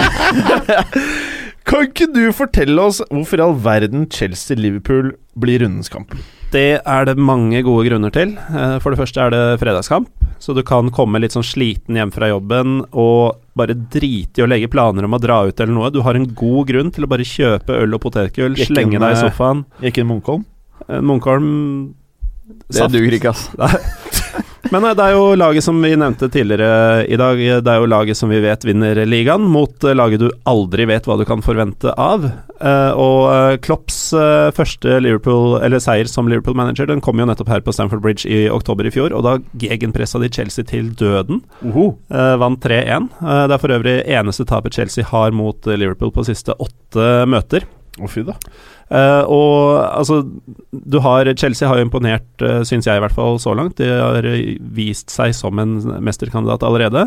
Kan ikke du fortelle oss hvorfor i all verden Chelsea-Liverpool blir rundens kamp?
Det er det mange gode grunner til. Eh, For det første er det fredagskamp, så du kan komme litt sånn sliten hjem fra jobben og bare drite i å legge planer om å dra ut eller noe. Du har en god grunn til å bare kjøpe øl og potetgull,
Jekken,
slenge deg i
eh,
sofaen.
Ikke en Munkholm?
Eh, Munkholm
Det
saft.
duger ikke, ass.
Men eh, det er jo laget som vi nevnte tidligere i dag, eh, det er jo laget som vi vet vinner ligaen, mot eh, laget du aldri vet hva du kan forvente av. Eh, Og eh, Klopps eh, første Liverpool, eller seier som Liverpool-manager den kom jo nettopp her på Stamford Bridge i oktober i fjor, og da gegenpressa de Chelsea til døden. Eh, Vant 3-1. Eh, Det er for øvrig eneste tapet Chelsea har mot eh, Liverpool på siste åtte møter.
Å, fy da.
Eh, og altså, du har Chelsea har jo imponert, uh, syns jeg i hvert fall, så langt. De har eh, vist seg som en mesterkandidat allerede.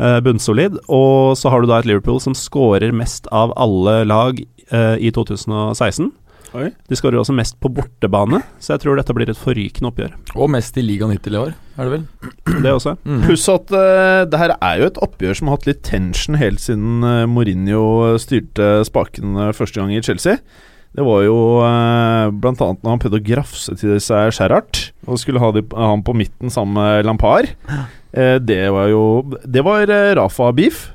eh, bunnsolid. Og så har du da et Liverpool som scorer mest av alle lag eh, i 2016.
Oi.
De skårer også mest på bortebane, så jeg tror dette blir et forrykende oppgjør.
Og mest i ligaen hittil i år, er det vel? Mm.
Det også.
Pluss at eh, det her er jo et oppgjør som har hatt litt tension helt siden eh, Mourinho styrte spaken eh, første gang i Chelsea. Det var jo eh, blant annet når han prøvde å grafse til seg Gerrard og skulle ha de, han på midten sammen med Lampard. Eh, det var jo Det var eh, Rafa-beef.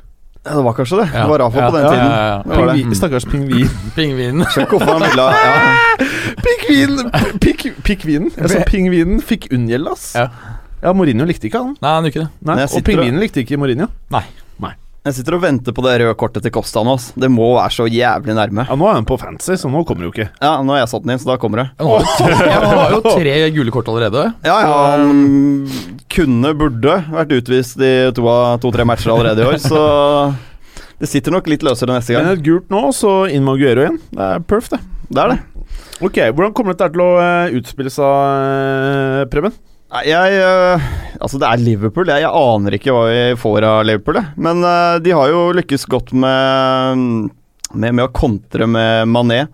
Ja, det var kanskje det. Det var Rafa på den
ja,
tiden.
Ja, ja,
Det var det.
Pingvi- Stakkars pingvin.
ja. Pingvinen.
Skjønner ikke hvorfor han ville ha ja.
Pingvinen! Pik, pikvinen. Jeg sa pingvinen fikk unngjeld, ass.
Ja.
Ja, Mourinho likte ikke han.
Nei, han gjør ikke det.
Nei,
Men jeg
og
sitter og-
pingvinen likte ikke Mourinho.
Jeg sitter og venter på det røde kortet til Costa nå. ass. Det må være så jævlig nærme.
Ja, Nå er han på fancy, så nå kommer det jo ikke.
Ja, nå har jeg satt den inn, så da kommer det.
Han har, jo- han har jo tre gule kort allerede.
Ja, ja, han kunne, burde vært utvist i to-tre to av- to-tre matcher allerede i år, så det sitter nok litt løsere neste
Men
gang.
et gult nå, så inn med Aguero igjen. Det er perf, det.
Det er det.
Ok, Hvordan kommer dette her til å eh, utspille seg, eh, Preben?
Nei, jeg øh, Altså, det er Liverpool. Jeg, jeg aner ikke hva vi får av Liverpool, jeg. Men øh, de har jo lykkes godt med, med, med å kontre med Mané.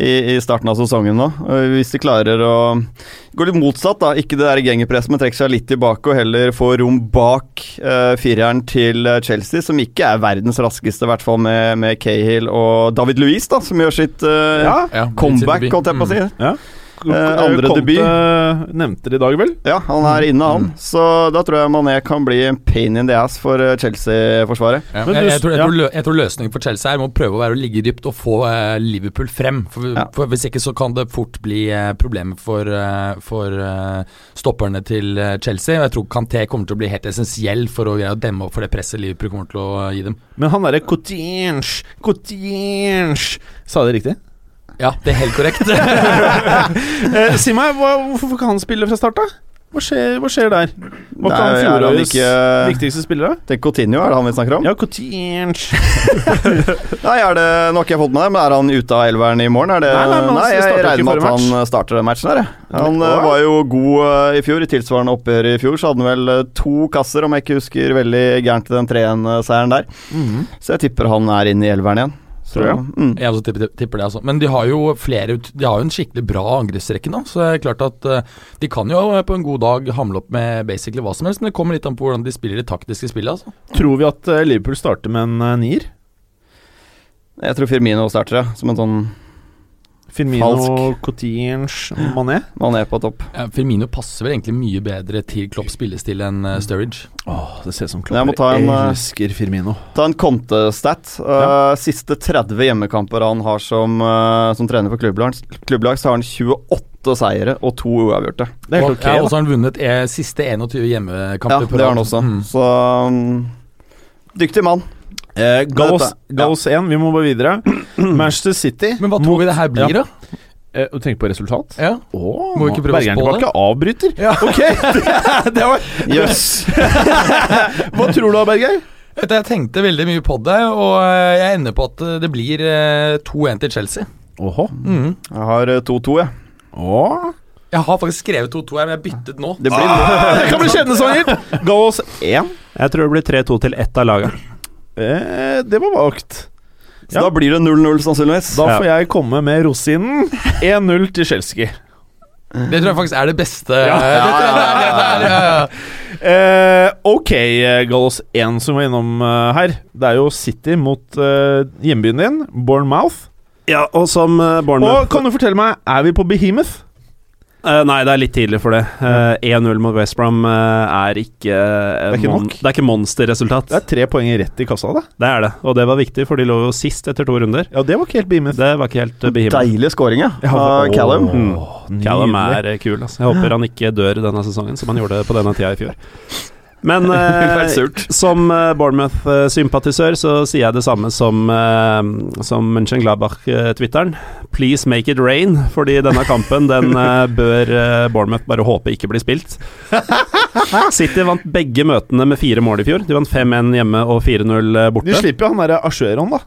I, I starten av sesongen nå. Øh, Hvis de klarer å gå litt motsatt, da. Ikke det der gengepresset, men trekke seg litt tilbake og heller få rom bak øh, fireren til øh, Chelsea, som ikke er verdens raskeste, i hvert fall med, med Cahill og David Louise, da, som gjør sitt øh,
Ja.
Ja,
comeback,
Vincent Bobby.
holdt jeg på å si. Eh, andre
Conte
debut.
eh, nevnte det i dag, vel?
Ja, han er inne, han.
Mm.
Så da tror jeg Mané kan bli en pain in the ass for eh, Chelsea-forsvaret.
Ja,
Men
jeg,
du-
jeg, tror, jeg,
ja.
tror lø, jeg tror løsningen for Chelsea her må prøve å være å ligge dypt og få eh, Liverpool frem. For,
Ja.
for Hvis ikke så kan det fort bli eh, problemer for, eh, for eh, stopperne til eh, Chelsea. Og jeg tror Kanté kommer til å bli helt essensiell for å greie å demme opp for det presset Liverpool kommer til å eh, gi dem.
Men han derre Cotinge Cotinge Sa jeg det riktig?
Ja, det er helt korrekt. ja,
Eh, si meg, hva, hvorfor kan han spille fra start, da? Hva skjer, hva skjer der? Hva kan
Nei, er han
fjorårets
ikke-
viktigste spillere?
Tenk Coutinho, er det han vi snakker om?
Eh. Ja, Cotinge
Nei, er det Nå har ikke jeg fått med det, men er han ute av elveren i morgen? Er det,
Nei, nei, men han
jeg
starter
regner
ikke
med at
forrige
han eh, starter den matchen her, jeg. Han eh,
Åh.
var jo god eh, i fjor. I tilsvarende oppgjør i fjor så hadde han vel eh, to kasser, om jeg ikke husker veldig gærent, den 3-1-seieren der.
Mhm.
Så jeg tipper han er inne i elveren igjen. Så,
Tror jeg.
mm.
Jeg også tipper, tipper det, altså. Men de har jo flere ut- De har jo en skikkelig bra angrepsrekke nå. Så det er klart at eh, de kan jo eh, på en god dag hamle opp med basically hva som helst. Men det kommer litt an på hvordan de spiller det taktiske spillet, altså.
Tror vi at eh, Liverpool starter med en eh, nier?
Jeg tror Firmino starter, ja. Som en sånn
Firmino,
Falsk.
Cotinge Mané?
Mané på topp.
Ja, Firmino passer vel egentlig mye bedre til Klopps spillestil enn eh, Sturridge.
Åh, det ser ut som
Jeg må
klapper.
ta en, eh,
elsker Firmino.
Ta en Conte-stat. Uh, Siste 30 hjemmekamper han har som, uh, som trener for klubblag, klubblag, så har han 28 seire og to uavgjorte.
Det er helt
og, ja, og
ok, da.
så har han vunnet eh, siste 21
Ja,
hjemmekamper
det har han også.
Mm.
Så um, Dyktig mann.
Eh, Gallos,
Dette- ja.
Gallos 1, vi må bare videre. Manchester City
Men hva tror vi det her blir, da?
eh, Du tenker på resultat?
Ja.
Åh,
Må vi ikke prøve å
Bergeren
spå det?
tilbake avbryter.
Ja.
Ok, det, det var
Jøss.
Hva tror du da, Berger?
Vet du, Jeg tenkte veldig mye på det, og eh, jeg ender på at eh, det blir eh, 2-1 til Chelsea.
Åhå.
Mm.
Jeg har uh, 2-2, jeg.
Åh.
Jeg har faktisk skrevet 2-2 her, men jeg byttet nå.
Det blir
Ah, Det kan bli skjebnesanger! Gallos 1.
Jeg tror det blir 3-2 til ett av laga.
Eh, det var vagt.
Så da blir det 0-0, sannsynligvis.
Da får jeg komme med rosinen. 1-0 til Chelsea.
Det tror jeg faktisk er det beste.
Ja.
eh, det tror jeg det er det der, ja, ja.
Eh, ok, eh, Gallos 1 som var innom eh, her. Det er jo City mot eh, hjembyen din, Bournemouth.
Ja, og som eh, Bournemouth
Og kan du fortelle meg, er vi på Behemoth?
Eh, Nei, det er litt tidlig for det. Eh, 1-0 mot West Brom eh, er ikke eh,
Det er ikke
mon-
nok.
Det er ikke monsterresultat.
Det er tre poeng rett i kassa, det.
Det er det, og det var viktig, for de lå jo sist etter to runder.
Ja, det var ikke helt Behemoth.
Det var ikke helt eh, behimmelig.
Deilig scoring, ja.
Ja,
Av
åh,
Callum. Mm.
nydelig.
Callum er eh, kul, altså. Jeg håper han ikke dør denne sesongen, som han gjorde på denne tida i fjor. Men eh, som eh, Bournemouth-sympatisør så sier jeg det samme som, eh, som Mönchengladbach-twitteren. Please make it rain, fordi denne kampen den eh, bør eh, Bournemouth bare håpe ikke blir spilt. City vant begge møtene med fire mål i fjor. De vant 5-1 hjemme og 4-0
De
borte.
slipper jo han derre Ashueron, da.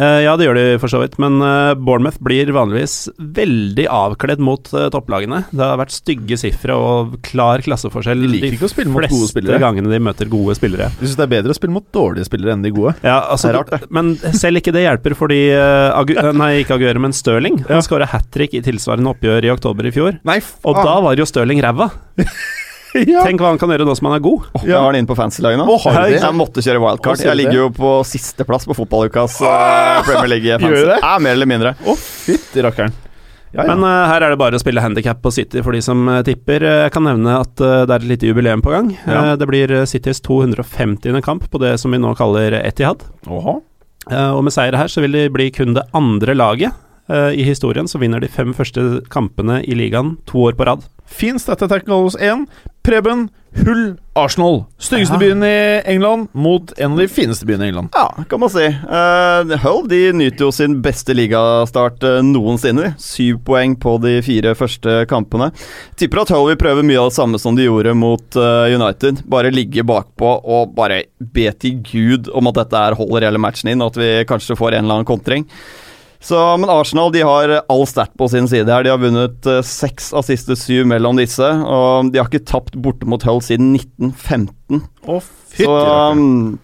Eh, ja, det gjør de for så vidt, men eh, Bournemouth blir vanligvis veldig avkledd mot eh, topplagene. Det har vært stygge sifre og klar klasseforskjell
De liker ikke å spille mot gode spillere.
gangene de møter gode spillere.
De syns det er bedre å spille mot dårlige spillere enn de gode.
Ja,
Det
altså,
er rart,
Men selv ikke det hjelper, fordi eh, Agu eh, Nei, ikke Aguero, men Stirling. Han skåra hat trick i tilsvarende oppgjør i oktober i fjor.
Nei,
Og da var jo Stirling ræva.
Ah. ja.
Tenk hva han kan gjøre nå som han er god.
Åh, Jeg har den inne på fancy-laget nå.
Å, har du det?
Jeg måtte kjøre wildcard.
Å, ser
Jeg
du
ligger
det?
jo på sisteplass på fotballukas eh, Premier League fancy.
Gjør du det?
Ja, mer eller mindre.
Å, fytti rakkeren. Ja, ja.
Men eh, her er det bare å spille handikap på City for de som eh, tipper. Eh, Jeg kan nevne at eh, det er et lite jubileum på gang.
Ja.
Eh, det blir eh, Citys 250. kamp på det som vi nå kaller Etihad.
Åha.
Eh, og med seier her så vil de bli kun det andre laget eh, i historien som vinner de fem første kampene i ligaen to år på rad.
Fin stat attack goals 1. Preben, hull Arsenal. Styggeste
Ja.
byen i England mot en av de fineste byene i England.
Ja, kan man si. Eh, Hull de nyter jo sin beste ligastart eh, noensinne. Syv poeng på de fire første kampene. Tipper at Hull vil prøve mye av det samme som de gjorde mot eh, United. Bare ligge bakpå og bare be til Gud om at dette her holder hele matchen inn, og at vi kanskje får en eller annen kontring. Så, men Arsenal de har all stat på sin side her. De har vunnet eh, seks av siste syv mellom disse. Og de har ikke tapt borte mot Hull siden 1915.
Å,
Så
rakkeren.
um,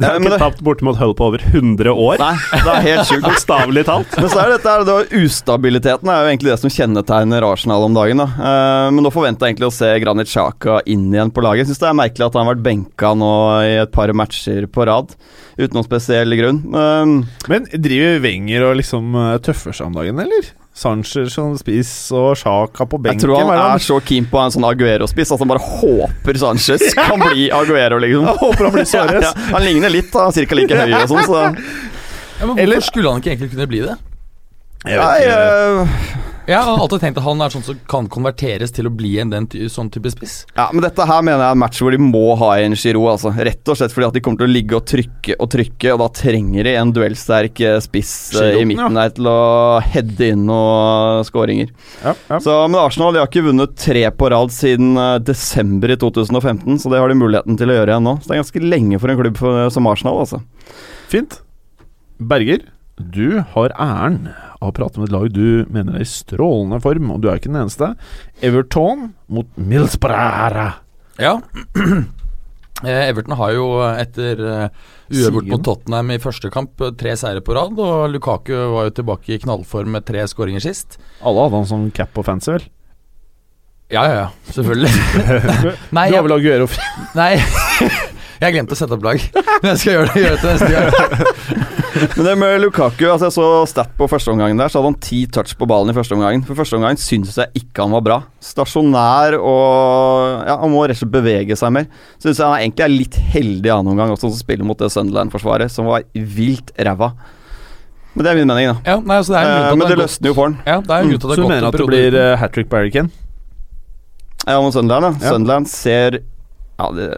De har
Nei, men
ikke
det-
tapt borte mot Hull på over 100 år.
Nei, det er helt sjukt.
Bokstavelig talt.
Men så er det dette her, da, ustabiliteten er jo egentlig det som kjennetegner Arsenal om dagen. da. Eh, men nå forventer jeg egentlig å se Granit Xhaka inn igjen på laget. Syns det er merkelig at han har vært benka nå i et par matcher på rad, uten noen spesiell grunn. Eh,
Men driver Wenger og liksom eh, tøffer seg om dagen, eller? Sanchez som spiss og Sjaka på
jeg
benken.
tror
hva er det
han er så keen på en sånn Aguero-spiss at han bare håper Sanchez kan bli Aguero, liksom.
Jeg håper han blir Suárez.
Ja, ja. Han ligner litt, da. Cirka like høy og sånn, så
Ja, men hvorfor
Eller-
skulle han ikke egentlig kunne bli det?
Nei, eh,
Jeg har alltid tenkt at han er sånn som kan konverteres til å bli en den ty sånn type spiss.
Ja, men dette her mener jeg er en match hvor de må ha en Giroud. Altså. Rett og slett fordi at de kommer til å ligge og trykke og trykke, og da trenger de en duellsterk eh, spiss eh,
Giroud,
i midten her til å heade inn noen eh, skåringer.
Ja, ja.
Så, men Arsenal de har ikke vunnet tre på rad siden eh, desember i 2015, så det har de muligheten til å gjøre igjen nå. Så det er ganske lenge for en klubb for, som Arsenal, altså.
Fint. Berger, du har æren av å prate med et lag du mener er i strålende form, og du er ikke den eneste. Everton mot Millsbrara.
Ja. Eh, Everton har jo eh, etter eh, uavgjort mot Tottenham i første kamp eh, tre seire på rad, og Lukaku var jo tilbake i knallform med tre skåringer sist.
Alle hadde han som cap og fancy, vel?
Ja, ja, ja. Selvfølgelig. Nei,
du har
jeg,
vel Aguero
nei. jeg glemte å sette opp lag, men jeg skal gjøre det, gjøre det til neste gang.
Men det med Lukaku, altså jeg så stat på første omgangen der, så hadde han ti touch på ballen i første omgangen. For første omgangen syns jeg ikke han var bra. Stasjonær og Ja, han må rett og slett bevege seg mer. Syns jeg han er egentlig er litt heldig i annen omgang også, som spiller mot det Sunderland-forsvaret, som var vilt ræva. Men det er min mening, da.
Ja, nei, altså, det er en grunn
Eh,
til at
men det
det er gått-
løsner jo for han.
Ja, det er en grunn til
Så
at det
du
har
mener
gått
at
en
det
periode
blir
uten-
uh, hat trick Barry Kane?
Ja, mot Sunderland, ja.
Ja.
Sunderland ser Ja, det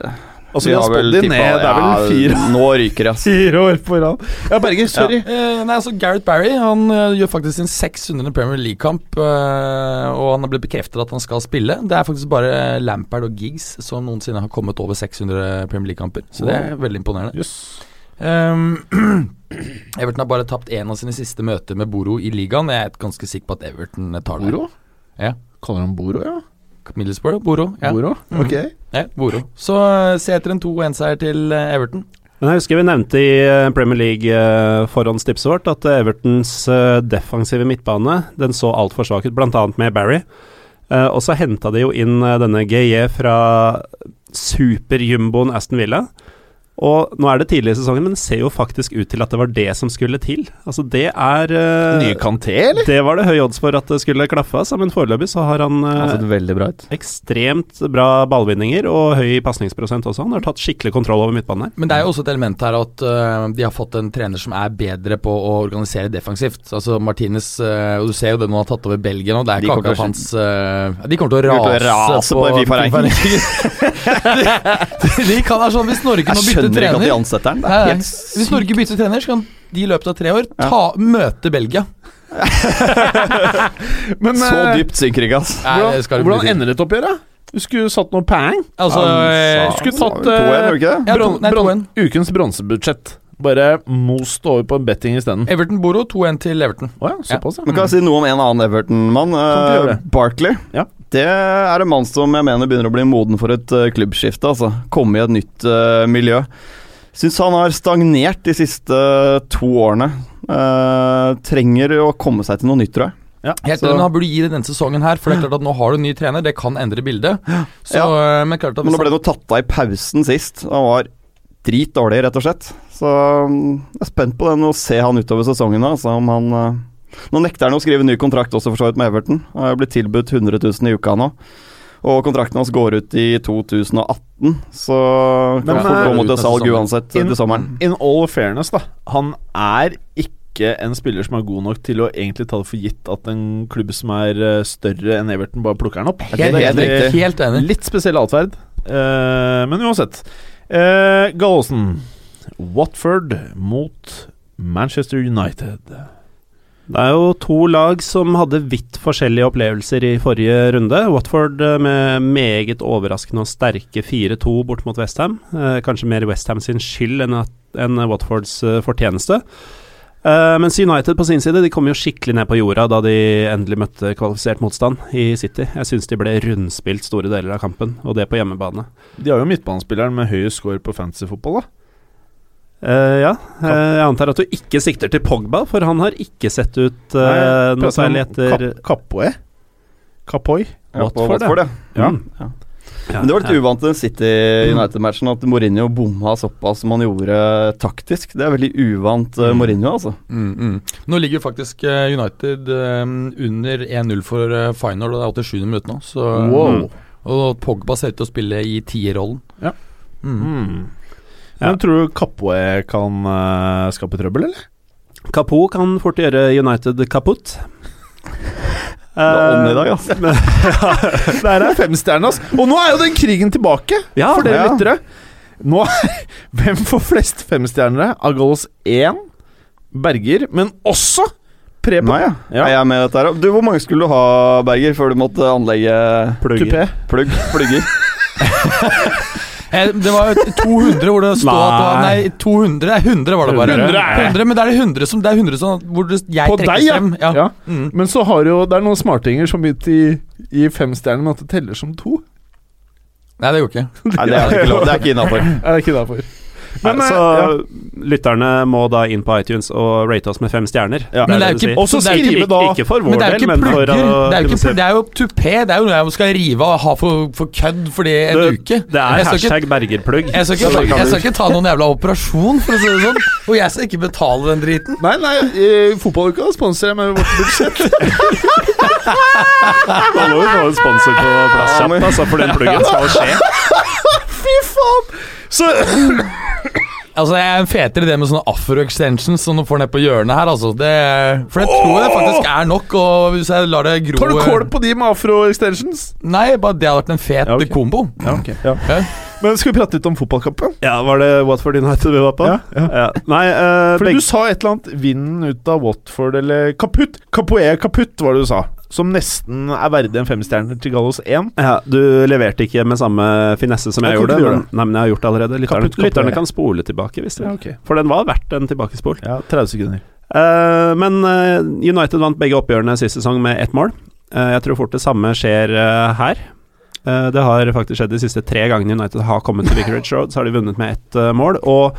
Altså,
vi
vi har
vel
spådd de
tippet-
ned, det er vel fire,
Ja, nå ryker det, ass.
fire år på rad. Ja, Berger, sorry.
Eh, nei, altså Gareth Barry han eh, gjør faktisk sin 600. Premier League-kamp. eh, og han har blitt bekreftet at han skal spille. Det er faktisk bare Lampard og Giggs som noensinne har kommet over 600 Premier League-kamper. Så det er veldig imponerende.
Jøss.
Ehm, Everton har bare tapt én av sine siste møter med Boro i ligaen. Jeg er ganske sikker på at Everton tar det.
Boro?
Ja.
Kaller han Boro, ja?
Middlesbrough, Boro. Ja. Mm.
Boro? Ok.
Ja, Boro. Så eh, se etter en 2-1-seier til eh, Everton.
Men jeg husker vi nevnte i eh, Premier League-forhåndstipset vårt at eh, Evertons eh, defensive midtbane den så altfor svak ut, bl.a. med Barry. Eh, Og så henta de jo inn eh, denne GJ fra superjumboen Aston Villa. Og nå er det tidlig i sesongen, men det ser jo faktisk ut til at det var det som skulle til. Altså, det er eh,
Nye Kanté, eller?
Det var det høy odds for at det skulle klaffe, altså, men foreløpig så har han eh,
Han har sett veldig bra ut.
ekstremt bra ballvinninger og høy pasningsprosent også. Han har tatt skikkelig kontroll over midtbanen her.
Men det er jo også et element her at øh, de har fått en trener som er bedre på å organisere defensivt. Altså Martinez øh, og Du ser jo det nå har tatt over Belgia nå. Det er
De
ikke
kommer til
akkurat
å
hans øh, ja, De kommer til
De
å
kommer
rase,
til å rase på den
de, de kan være sånn Hvis Norge
Jeg
nå
skjønner ikke
bytter
at de
trener
ansetter han. Det
Nei,
er
nei.
helt
Hvis Norge bytter trener, så kan de i løpet av tre år
Ja.
ta, møte Belgia.
Men,
Så
eh,
dypt synker ikke, ass.
Nei, det
Hvordan,
skal du bli
hvordan ender dette oppgjøret? Du skulle satt noe pang.
Altså,
Han sa-
øh,
Skulle
sa
tatt
vel 2-1,
eh,
gjorde du ikke det?
Ja, to-
bron
nei,
bron ukens bronsebudsjett. Bare most over på betting isteden.
Everton Boro 2-1 til Everton.
Å ja, såpass, ja.
Men kan jeg si noe om en annen Everton-mann?
Kan ikke gjøre
Eh, Barkley.
Ja.
Det er en mann som jeg mener begynner å bli moden for et eh, klubbskifte. Altså. Komme i et nytt eh, miljø. Syns han har stagnert de siste to årene. Eh, trenger å komme seg til noe nytt, tror jeg.
Helt
Så-
enig, han burde gi det denne sesongen her, for det er klart at nå har du en ny trener, det kan endre bildet. Så, øh, men klart at
Men nå
hvis
ble
han-
det jo tatt av i pausen sist. Han var dritdårlig, rett og slett. Så mm, jeg er spent på den å se han utover sesongen. nå, Altså, om han, eh, nå nekter han å skrive ny kontrakt også for så vidt med Everton. Han er blitt tilbudt 100 000 i uka nå. Og kontrakten hans går ut i 2018, så
Men,
kan fort
eh,
gå mot
ut
et
neste
salg
sommer.
uansett eh, til sommeren.
In all fairness, da. Han er ikke en spiller som er god nok til å egentlig ta det for gitt at en klubb som er eh, større enn Everton, bare plukker han opp. Er ikke
helt,
det
helt,
egentlig-
enig, helt enig.
Litt spesiell atferd. Eh, men uansett. Uh, Gallosen. Watford mot Manchester United.
Det er jo to lag som hadde vidt forskjellige opplevelser i forrige runde. Watford eh, med meget overraskende og sterke 4-2 bort mot Westham. Eh, kanskje mer Westham sin skyld enn, at, enn Watfords eh, fortjeneste. Eh, mens United på sin side de kom jo skikkelig ned på jorda da de endelig møtte kvalifisert motstand i City. Jeg syns de ble rundspilt store deler av kampen, og det på hjemmebane.
De har jo midtbanespilleren med høyest score på fantasyfotball, da.
Eh, ja, eh, jeg antar at du ikke sikter til Pogba, for han har ikke sett ut eh, noe særlig etter
Kap Kapoe? Kapoi?
Ja, på
Watford, ja.
Watford, ja.
Ja.
Mm.
Ja. Men det var litt uvant i den City United-matchen at Mourinho bomma såpass som han gjorde taktisk. Det er veldig uvant eh, Mourinho, altså.
Mm, mm. Nå ligger jo faktisk eh, United eh, under 1-0 for eh, final, og det er 87 minutter nå. Så, mm.
Wow.
Og Pogba ser ut til å spille i tierrollen.
Ja.
Mm.
Mm. Men tror du Kapoe kan eh, skape trøbbel, eller?
Kapo kan fort gjøre United kaputt.
Det er
Eh,
ånd i dag, altså.
Der er femstjernen, ass. Og nå er jo den krigen tilbake,
Ja,
for dere
ja.
lyttere. Nå Hvem får flest femstjernere? Agolos 1, Berger, men også Preben.
Nei, ja.
Ja.
Er jeg med i dette her? da? Du, Hvor mange skulle du ha, Berger, før du måtte anlegge
Kupé.
plugg, plugger?
Eh, det var jo 200 hvor det stod at det var
Nei.
Nei, 200. Nei, 100 var det bare.
100 er det.
100, men det er det 100 som, det er 100 som hvor det, jeg
På
trekkes
deg, ja.
frem.
Ja.
Mm.
Men så har jo Det er noen smartinger som begynte i, i femstjernen, men at det teller som to.
Nei, det går ikke.
Nei, det er ikke lov. Det er ikke innafor.
Er det ikke derfor? Men,
Nei, så
eh, ja.
lytterne må da inn på iTunes og rate oss med fem stjerner.
Ja.
Men det er jo
du
ikke-
sier.
Og så
det er jo
skrive, da.
Ikke for
Men
vår
det er jo
del,
ikke
men for
plugger. Det
å
er jo
kunne
ikke,
se-
pl- det er jo tupé. Det er jo noe jeg skal rive av og ha for, for kødd fordi en
Det-
uke.
Det er
jeg skal ikke,
hashtag Bergerplugg.
jeg skal, ikke, ta- jeg skal ikke ta noen jævla operasjon, for å si det sånn. Og jeg skal ikke betale den driten.
Nei, nei, eh, fotballuka sponser jeg med vårt budsjett.
Da må vi få en sponsor på plass
Ja, men-
kjapt, altså, for den pluggen skal skje.
Fy faen! Så
Altså, Jeg er en fetere i det med sånne afro-extensions som du får ned på hjørnet her. altså det, For jeg tror det faktisk er nok. Og hvis jeg lar det gro
tar du kål på de med afro-extensions.
Nei, bare det hadde vært en fet
Ja, ok.
kombo.
Ja, ok Men skal vi prate litt om fotballkampen?
Ja, var det Watford United vi var på?
Ja, ja.
Nei, eh,
For
begge
du sa et eller annet Vinden ut av Watford eller Kaputt. Kapoe Kaputt, var det du sa. Som nesten er verdig en femstjerner til Gallos 1.
Ja, Du leverte ikke med samme finesse som jeg,
Jeg kan
gjorde.
ikke gjøre
Men, nei, men jeg har gjort det allerede. Lytterne,
Kaputt, kaputt,
lytterne
ja.
kan spole tilbake, hvis de vil.
ok
For den var verdt en tilbakespol.
Ja, 30 sekunder.
Eh, men eh, United vant begge oppgjørene sist sesong med ett mål. Eh, jeg tror fort det samme skjer eh, her. Eh, det har faktisk skjedd de siste tre gangene United har kommet til Vicarage Road, så har de vunnet med ett eh, mål. Og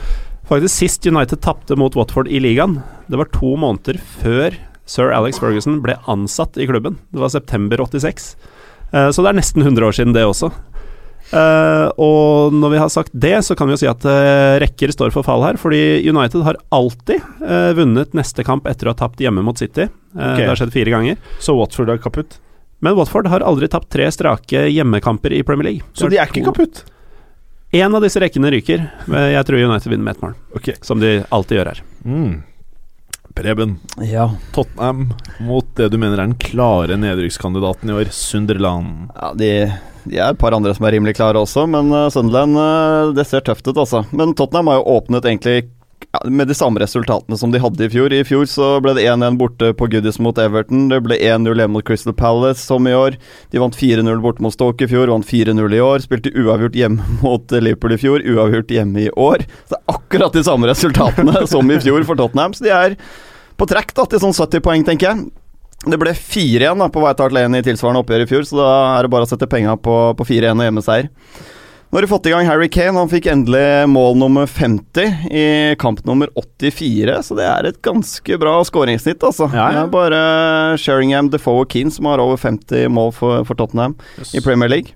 faktisk sist United tapte mot Watford i ligaen, det var to måneder før sir Alex Ferguson ble ansatt i klubben. Det var september 86. Eh, så det er nesten 100 år siden, det også. Eh, og når vi har sagt det, så kan vi jo si at eh, rekker står for fall her. Fordi United har alltid eh, vunnet neste kamp etter å ha tapt hjemme mot City. Eh,
Ok.
Det har skjedd fire ganger.
Så Watford er kaputt.
Men Watford har aldri tapt tre strake hjemmekamper i Premier League.
Så de er ikke kaputt.
Én av disse rekkene ryker. Men Jeg tror United vinner med ett mål,
Ok.
som de alltid gjør her.
Mm. Preben,
Ja.
Tottenham mot det du mener er den klare nedrykkskandidaten i år, Sunderland.
Ja, de, de er et par andre som er rimelig klare også, men eh, Sunderland eh, det ser tøft ut, altså. Men Tottenham har jo åpnet egentlig ja, med de samme resultatene som de hadde i fjor. I fjor så ble det 1-1 borte på Goodies mot Everton. Det ble 1-0 hjemme mot Crystal Palace som i år. De vant 4-0 borte mot Stoke i fjor, vant 4-0 i år. Spilte uavgjort hjemme mot eh, Liverpool i fjor, uavgjort hjemme i år. Så det er akkurat de samme resultatene som i fjor for Tottenham. Så de er på trekk da, til sånn 70 poeng, tenker jeg. Det ble 4-1 da på White Hart Lane i tilsvarende oppgjør i fjor, så da er det bare å sette penga på, på 4-1 og hjemmeseier. Nå har de fått i gang Harry Kane. Han fikk endelig mål nummer 50 i kamp nummer 84, så det er et ganske bra skåringssnitt, altså.
Ja, ja.
Det er bare Sheringham, Defoe og Keane som har over 50 mål for, for Tottenham i Premier League.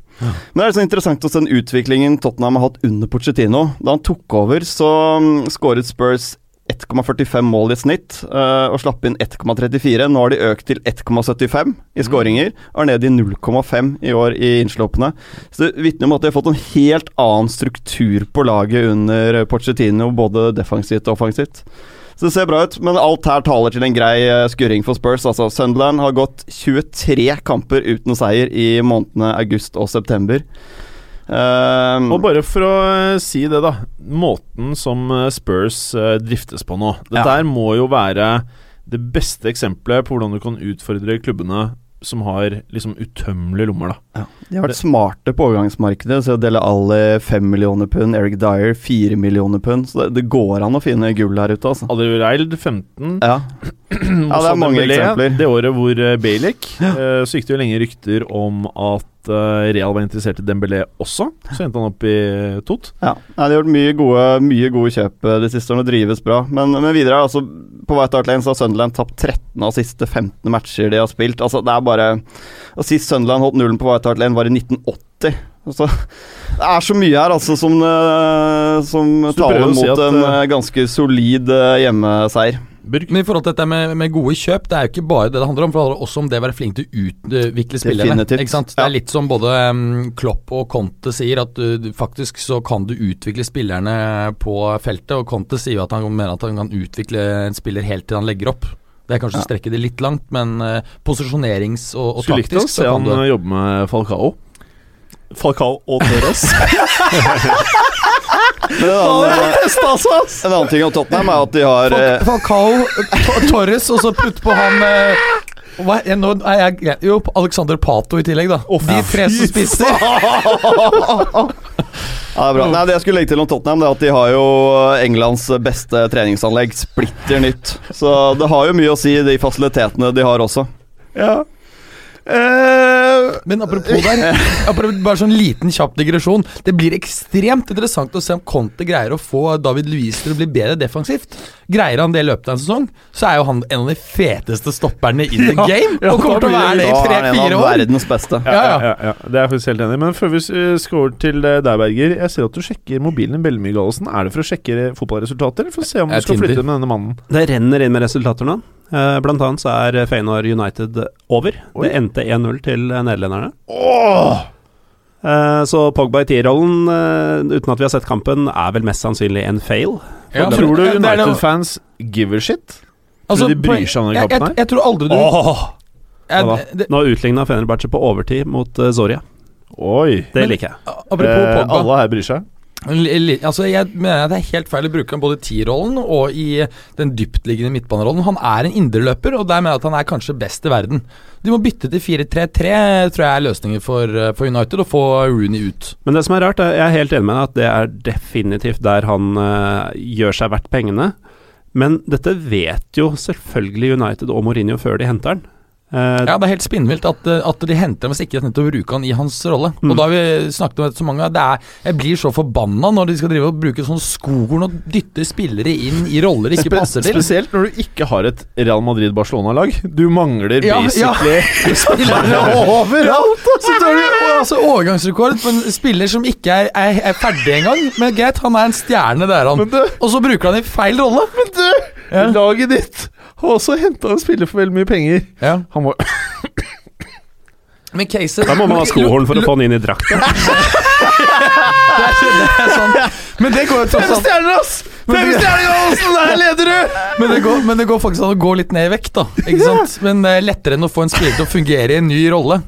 Men det er så interessant å se den utviklingen Tottenham har hatt under Pochettino. Da han tok over, så mm, skåret Spurs 1,45 mål i snitt eh, og slapp inn 1,34. Nå har de økt til 1,75 i skåringer og er nede i 0,5 i år i innsluppene. Så det vitner om at de har fått en helt annen struktur på laget under Pochettino, både defensivt og offensivt. Så det ser bra ut, men alt her taler til en grei eh, skurring for Spurs. Altså, Sunderland har gått 23 kamper uten seier i månedene august og september. Ehm,
Og bare for å eh, si det, da. Måten som eh, Spurs eh, driftes på nå. Dette
Ja.
her må jo være det beste eksempelet på hvordan du kan utfordre klubbene som har liksom utømmelige lommer, da.
de har vært smarte på overgangsmarkedet. Så Dele Alli 5 millioner pund, Eric Dyer 4 millioner pund. Så det, det går an å finne gull her ute, altså.
Adrild 15.
Ja. ja, det
Moussa
er mange
Dembélé,
eksempler.
Det året hvor eh, Bale gikk, eh, så gikk det jo lenge rykter om at eh, Real var interessert i Dembélé også. Så endte han opp i eh, Tot.
Ja, Nei, De har gjort mye gode, mye gode kjøp eh, de siste årene og drives bra. Men, men videre, altså, på White Hart Lane så har Sunderland tapt 13 av siste 15 matcher de har spilt. Altså, det er bare Og Sist Sunderland holdt nullen på White Hart Lane, var i 1980. Altså, det er så mye her altså, som, eh, som
Så du
taler
prøver å
mot
si at,
en
eh,
eh, ganske solid eh, hjemmeseier.
Burg.
Men i forhold til dette med, med gode kjøp, det er jo ikke bare det det handler om. For det handler også om det å være flink til å utvikle spillerne.
Definitivt.
Ikke sant? Det
Ja.
er litt som både um, Klopp og Conte sier, at du, du, faktisk så kan du utvikle spillerne på feltet. Og Conte sier jo at han mener at han kan utvikle en spiller helt til han legger opp. Det er kanskje å strekke det litt langt, men eh, posisjonerings- og, og
Skulle likt å
taktisk
se
så kan
han
du
eh, jobbe med Falcao.
Falcao og Torres.
Men en annen, en annen ting om Tottenham er at de har eh,
Fal- Falcao, T- Torres, og så putt på han eh, hva, er- nå er jeg, jo, Alexander Pato i tillegg, da. De tre som spiser.
Ja, det er bra. Nei, det jeg skulle legge til om Tottenham, det er at de har jo Englands beste treningsanlegg. Splitter nytt. Så det har jo mye å si, de fasilitetene de har også.
Ja. Eh,
Men apropos der, apropos, bare sånn liten kjapp digresjon. Det blir ekstremt interessant å se om Conte greier å få David Luiz til å bli bedre defensivt. Greier han det i løpet av en sesong, så er jo han en av de feteste stopperne in the game.
ja,
og kommer
da
til å
Da
blir
være det i
er han en
tre-fire
av
år.
verdens beste.
ja,
Ja,
ja,
ja.
ja, ja. Det er jeg faktisk helt enig i. Men før vi eh, skal over til eh, deg, Berger. Jeg ser at du sjekker mobilen din veldig mye, Gallosen. Er det for å sjekke eh, fotballresultater, eller for å se om du
Jeg er
skal
Tinder.
flytte med denne mannen?
Det renner inn med resultater nå. Eh, Blant annet så er Feyenoord United over. Det endte 1-0 til nederlenderne. Eh, Så Pogba i T-rollen, eh, uten at vi har sett kampen, er vel mest sannsynlig en fail.
Ja, men-
Tror du
det er noe-
United-fans give a shit?
altså,
de bryr seg om den
jeg-
kampen her?
Jeg, jeg tror aldri du
Ja
jeg, det,
Nå utligna Fenerbahçe på overtid mot eh, Zoria.
Oi.
Det
Men-
liker jeg.
Apropos
Eh,
Pogba.
Alle her bryr seg.
Li- li- Altså, jeg mener at Det er helt feil å bruke ham både i T-rollen og i den dyptliggende midtbanerollen. Han er en indreløper, og der mener jeg at han er kanskje best i verden. De må bytte til 4-3-3, tror jeg er løsningen for, eh, for United, og få Rooney ut.
Men det som er rart, er, jeg er helt enig med deg at det er definitivt der han eh, gjør seg verdt pengene. Men dette vet jo selvfølgelig United og Mourinho før de henter han. Eh,
Ja, Det er helt spinnvilt at, eh, at de henter ham hvis ikke de henter å bruke han i hans rolle. Og da har vi snakket om dette så mange ganger, det er, Jeg blir så forbanna når de skal drive og bruke sånn skogorn og dytte spillere inn i roller de ikke passer til.
Spesielt når du ikke har et Real Madrid-Barcelona-lag. Du mangler
Ja, ja.
basically
Spillere overalt! Så tar du og altså, overgangsrekord på en spiller som ikke er, er, er ferdig engang. Men greit, han er en stjerne, det er han.
Men du,
Og så bruker han i feil rolle!
men du laget ditt har også henta en spiller for veldig mye penger.
Ja.
Han var
Men caset
Da må man ha skohorn for å få han inn i drakta.
Men det går jo tross alt
stjerner, ass!
Fem stjerner, Olsen! Der leder du! Men det, går, men det går faktisk an å gå litt ned i vekt, da. Ikke sant? Men eh, lettere enn å få en spiller til å fungere i en ny rolle.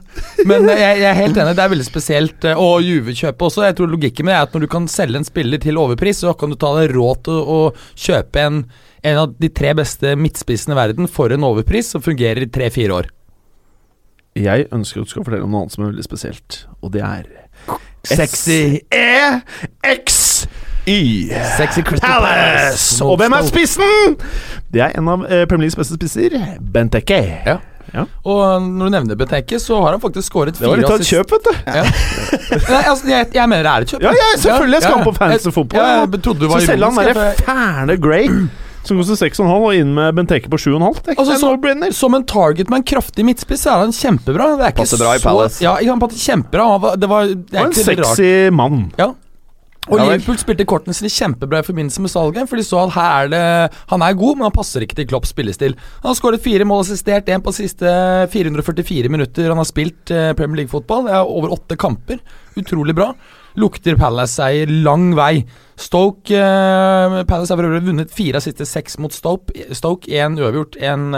Men eh, jeg, jeg er helt enig, det er veldig spesielt. eh, Og Juve-kjøpet også. Jeg tror logikken med det er at når du kan selge en spiller til overpris, så kan du ta deg råd til å, å kjøpe en, en av de tre beste midtspissene i verden for en overpris som fungerer i tre-fire år.
Jeg ønsker at du skal fortelle om noe annet som er veldig spesielt, og det er E E-X-Y.
Sexy Crystal
Palace!
Palace.
Og hvem er spissen? Det er en av eh, Premier Leagues beste spisser, Benteke.
Ja. Og når du nevner Benteke, så har han faktisk skåret
Det var
fire
litt av et kjøp, vet du.
Ja. Nei, altså, jeg, jeg mener det er et kjøp.
Ja, ja, selvfølgelig. Jeg skal
ja.
på fantasy
Jeg-
football,
Ja,
ja.
jeg trodde du
Så
var
selger han
ironisk.
derre
jeg-
fæle Grey, som koster 6,5, og inn med Benteke på 7,5. Det er ikke
Altså,
en
så-
no-brainer.
Som en target med en kraftig midtspiss, så er han kjempebra. Det er ikke
Passer bra i
så,
Palace.
Ja, ikke sant, passer kjempebra. Han var, det var det
Og
er
en
ikke rart.
sexy mann.
Ja. Og
Ja vel.
Liverpool spilte kortene sine kjempebra i forbindelse med salget, for de så at her er det Han er god, men han passer ikke til Klopps spillestil. Han har skåret fire mål assistert, én på de siste 444 minutter. Han har spilt eh, Premier League-fotball. Det er over åtte kamper. Utrolig bra. Lukter Palace-seier lang vei. Stoke eh, Palace har for øvrig vunnet fire av siste seks mot Stoke. Stoke én uavgjort, én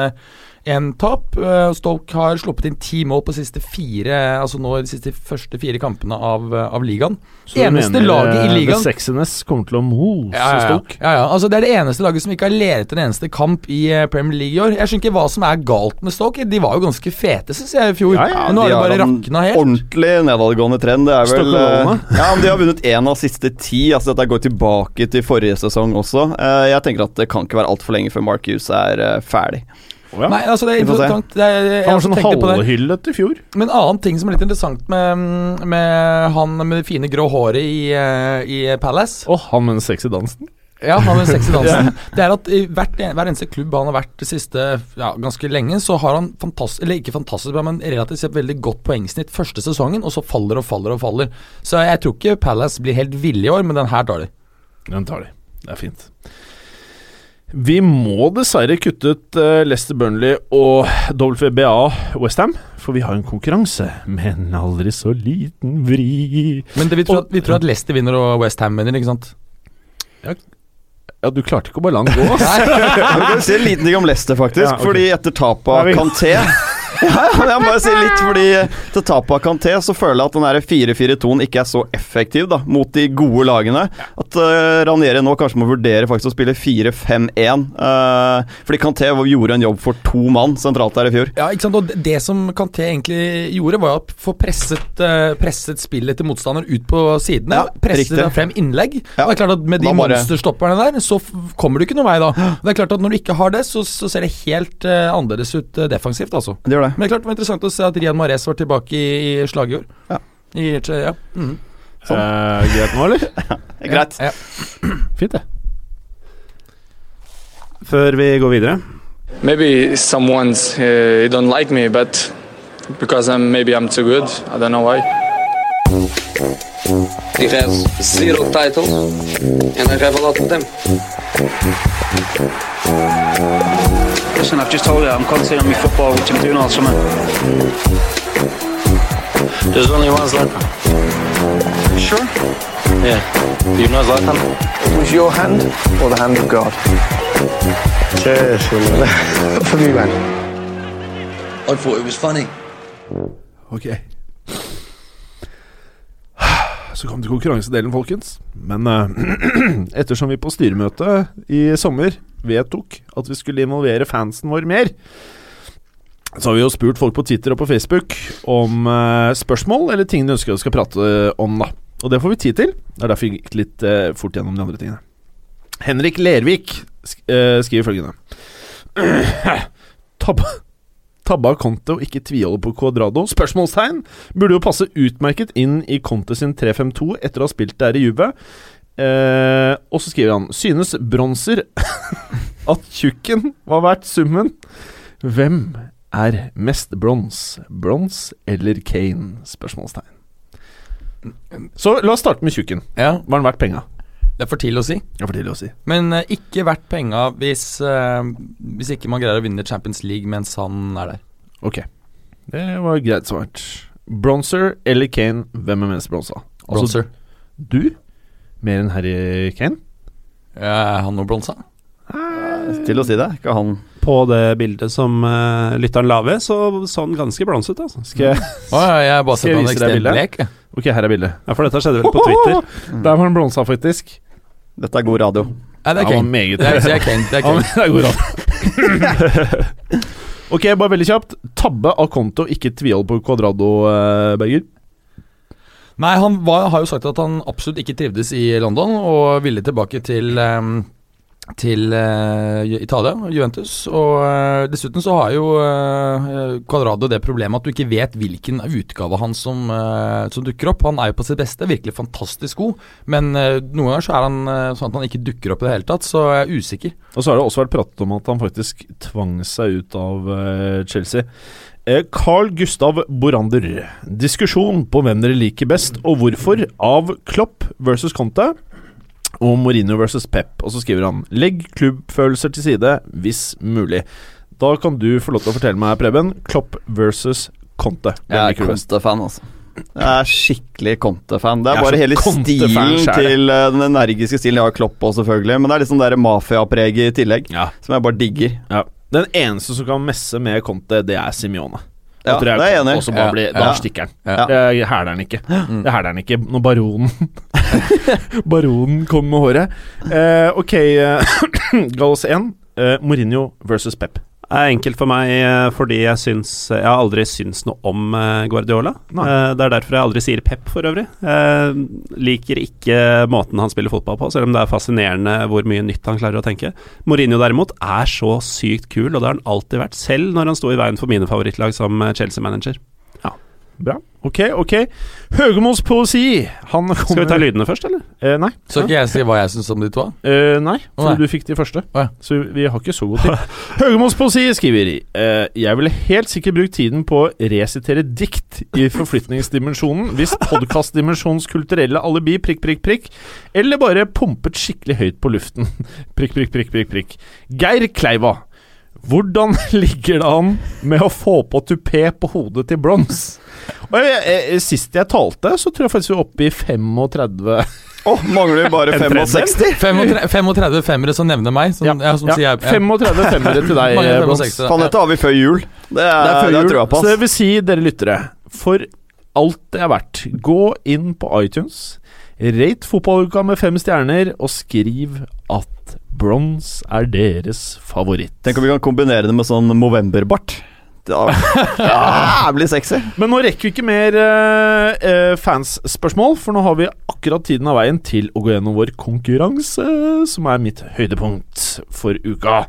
en tap. Eh, Stoke har sluppet inn ti mål på siste fire, altså nå i de siste første fire kampene av, eh, av ligaen.
Så du
Eneste
mener,
laget i
eh,
ligaen-
The Sexiness kommer til å mose
Ja, ja, ja.
Stoke.
ja, ja. Altså, det er det eneste laget som ikke har leret en eneste kamp i eh, Premier League i år. Jeg skjønner ikke hva som er galt med Stoke. De var jo ganske fete, syns jeg, i fjor.
Ja, ja,
Men Nå har
de
det bare
en
rakna helt.
Ordentlig nedadgående trend. Det er vel
Stockholm,
eh, Ja, men De har vunnet én av siste ti. Altså Dette går tilbake til forrige sesong også. Eh, Jeg tenker at det kan ikke være altfor lenge før Mark Hughes er eh, ferdig.
Ja.
Nei, altså det er
Vi får se.
interessant. Det er, jeg
Han var
også
sånn
tenkte på det.
halvhyllet i fjor.
Men en annen ting som er litt interessant med, mm, med han med det fine grå håret i, eh, i Palace
Og han med den sexy dansen.
Ja, han med sexy dansen. Det er at i hvert, en- hver eneste klubb han har vært det siste ja, ganske lenge, så har han fantastisk, eller ikke fantastisk bra, men relativt sett veldig godt poengsnitt første sesongen, og så faller og faller og faller. Så jeg tror ikke Palace blir helt ville i år, men den her tar de.
Den tar de. Det er fint. Vi må dessverre kutte ut eh, Leicester Burnley og WBA Westham, for vi har en konkurranse med en aldri så liten vri.
Men det, vi, tror at, vi tror at Leicester vinner og Westham vinner, ikke sant?
Ja, du klarte ikke å bare la den gå, ass.
Vi kan si en liten ting om Leicester, faktisk.
Ja, ok.
Fordi etter tapet
Ja,
av
vi-
Kanté Ja, men jeg må bare si litt, fordi Til tapet av Kanté så føler jeg at den der 4-4-2-en ikke er så effektiv da mot de gode lagene. At uh, Ranieri nå kanskje må vurdere faktisk å spille 4-5-1. eh, fordi Kanté gjorde en jobb for to mann sentralt der i fjor.
Ja, ikke sant? Og det- det som Kanté egentlig gjorde, var å få presset, eh, presset spillet til motstander ut på sidene.
Ja,
presset
riktig.
dem frem innlegg.
Ja.
Og det er klart at Med de
Da bare-
monsterstopperne der, så f kommer du ikke noen vei da. Og det er klart at Når du ikke har det, så, så ser det helt eh, annerledes ut eh, defensivt, altså.
Det gjør det.
Men det er klart det var interessant å se at Rian Mares var tilbake i, i slaget i år.
Ja.
I, tre- ja. Mhm.
Eh, greit nå, eller?
Greit.
Ja, ja.
Fint, det.
Før vi går videre
Maybe someone's uh, don't like me, but because I'm maybe I'm too good. I don't know why.
He has zero titles, and I have a lot of them.
Listen, I've just told you I'm concentrating on my football, which I'm doing all summer.
There's only one Zlatan.
Sure.
Yeah. Do you know Zlatan?
was your hand or the hand of God? Cheers. For me, man.
I thought it was funny.
Ok. Så kom det konkurransedelen, folkens. Men eh, ettersom vi på styremøtet i sommer vedtok at vi skulle involvere fansen vår mer, så har vi jo spurt folk på Twitter og på Facebook om eh, spørsmål eller ting de ønsker vi skal prate om, da. Og det får vi tid til. Det er derfor vi gikk litt eh, fort gjennom de andre tingene. Henrik Lervik sk eh, skriver følgende Tabba, tabba Conte og ikke tviholde på Cuadrado? Spørsmålstegn! Burde jo passe utmerket inn i Conte sin 3-5-2 etter å ha spilt der i Juve. Eh, og så skriver han Synes bronser at tjukken var verdt summen? Hvem er mest brons? Brons eller Kane? Spørsmålstegn. Så la oss starte med tjukken.
ja.
Var den verdt penga?
Det er for tidlig å si.
Det er for tidlig å si.
Men eh, ikke verdt penga hvis, eh, hvis ikke man greier å vinne Champions League mens han er der.
Ok. Det var greit svart. Bronser eller Kane, hvem er mest bronsa? Altså,
Bronzer.
Du? Mer enn Harry Kane?
Eh, han Oblonsa?
Til å si det. Ikke han.
På det bildet som eh, lytteren la ved, så så han ganske blons ut, altså.
Skal jeg
Å ja, jeg har bare
Skal
sett
jeg
han
vise deg
ekstremt
bildet?
blek. jeg.
Ok, her er bildet.
Ja, for dette skjedde vel på Twitter.
Der var han blonsa, faktisk.
Dette er god radio.
Nei, det er
Han var
Kane.
meget
Det er, det er Kane. Det er
Ja,
Kane.
men det går an. ok, bare veldig kjapt. Tabbe av konto, ikke tvil på Cuadrado, eh, Berger.
Nei, han var, har jo sagt at han absolutt ikke trivdes i London, og ville tilbake til ehm, til eh, Italia, Juventus. Og eh, dessuten så har jo eh, Cuadrado det problemet at du ikke vet hvilken utgave av han som, eh, som dukker opp. Han er jo på sitt beste, virkelig fantastisk god, men eh, noen ganger så er han eh, sånn at han ikke dukker opp i det hele tatt, så jeg er usikker.
Og så har det også vært pratet om at han faktisk tvang seg ut av eh, Chelsea. Eh, Carl Gustav Borander. Diskusjon på hvem dere liker best og hvorfor av Klopp versus Conte og Mourinho versus Pep. Og så skriver han Legg klubbfølelser til side hvis mulig. Da kan du få lov til å fortelle meg, Preben. Klopp versus Conte. Hvem
Jeg er
liker du best?
Conte-fan, altså. Jeg er skikkelig Conte-fan. Det
Jeg
er
er
bare
så
hele
Conte-fan
stilen
selv.
til eh, Den energiske stilen. Jeg har Klopp òg, selvfølgelig. Men det er liksom det der mafiapreget i tillegg,
Ja.
som jeg bare digger.
Ja. Den eneste som kan messe med Conte, det er Simione.
Ja, det er jeg enig
Og så
i.
bare
Ja,
blir-
ja.
Da stikker han.
Ja.
Det hæler han ikke. Det hæler han ikke når baronen Baronen kom med håret. Eh, ok, eh, Gallos 1. eh, Mourinho versus Pep.
Det er enkelt for meg eh, fordi jeg syns eh, Jeg har aldri syns noe om eh, Guardiola.
Nei.
Eh, Det er derfor jeg aldri sier Pep, for øvrig. Jeg liker ikke måten han spiller fotball på, selv om det er fascinerende hvor mye nytt han klarer å tenke. Mourinho derimot er så sykt kul, og det har han alltid vært, selv når han sto i veien for mine favorittlag som eh, Chelsea-manager.
Bra. Ok, ok. Høgmos poesi. Han kommer
Skal vi ta lydene først, eller?
Eh, nei.
Så ikke jeg si hva jeg syns om de to.
Eh, nei, for
Å, nei.
du fikk de første.
Å, ja.
Så vi har ikke så god tid. Høgemos poesi skriver i eh, Jeg ville helt sikkert brukt tiden på å resitere dikt i forflytningsdimensjonen hvis podkastdimensjonens kulturelle alibi prikk, prikk, prikk, eller bare pumpet skikkelig høyt på luften. Prikk, prikk, prikk, prikk, prikk. Geir Kleiva. Hvordan ligger det an med å få på tupé på hodet til Blons? Og jeg, jeg, sist jeg talte, så tror jeg faktisk vi er oppe i 35
Åh, mangler bare 65!
35 35 femmere som nevner meg. Som, Sånn, ja. som sier jeg, ja.
35 femmere til deg,
Mange
Blons.
65,
Faen, dette har vi før jul. Det er,
Det er før
det
jul.
tror jeg på.
Så det
ass.
vil si, dere lyttere, for alt det er verdt, gå inn på iTunes, rate fotballuka med fem stjerner, og skriv at bronse er deres favoritt.
Tenk om vi kan kombinere det med sånn Movember-bart. Det er- Ja, det blir sexy.
Men nå rekker vi ikke mer eh, eh, fansspørsmål, for nå har vi akkurat tiden av veien til å gå gjennom vår konkurranse, som er mitt høydepunkt for uka.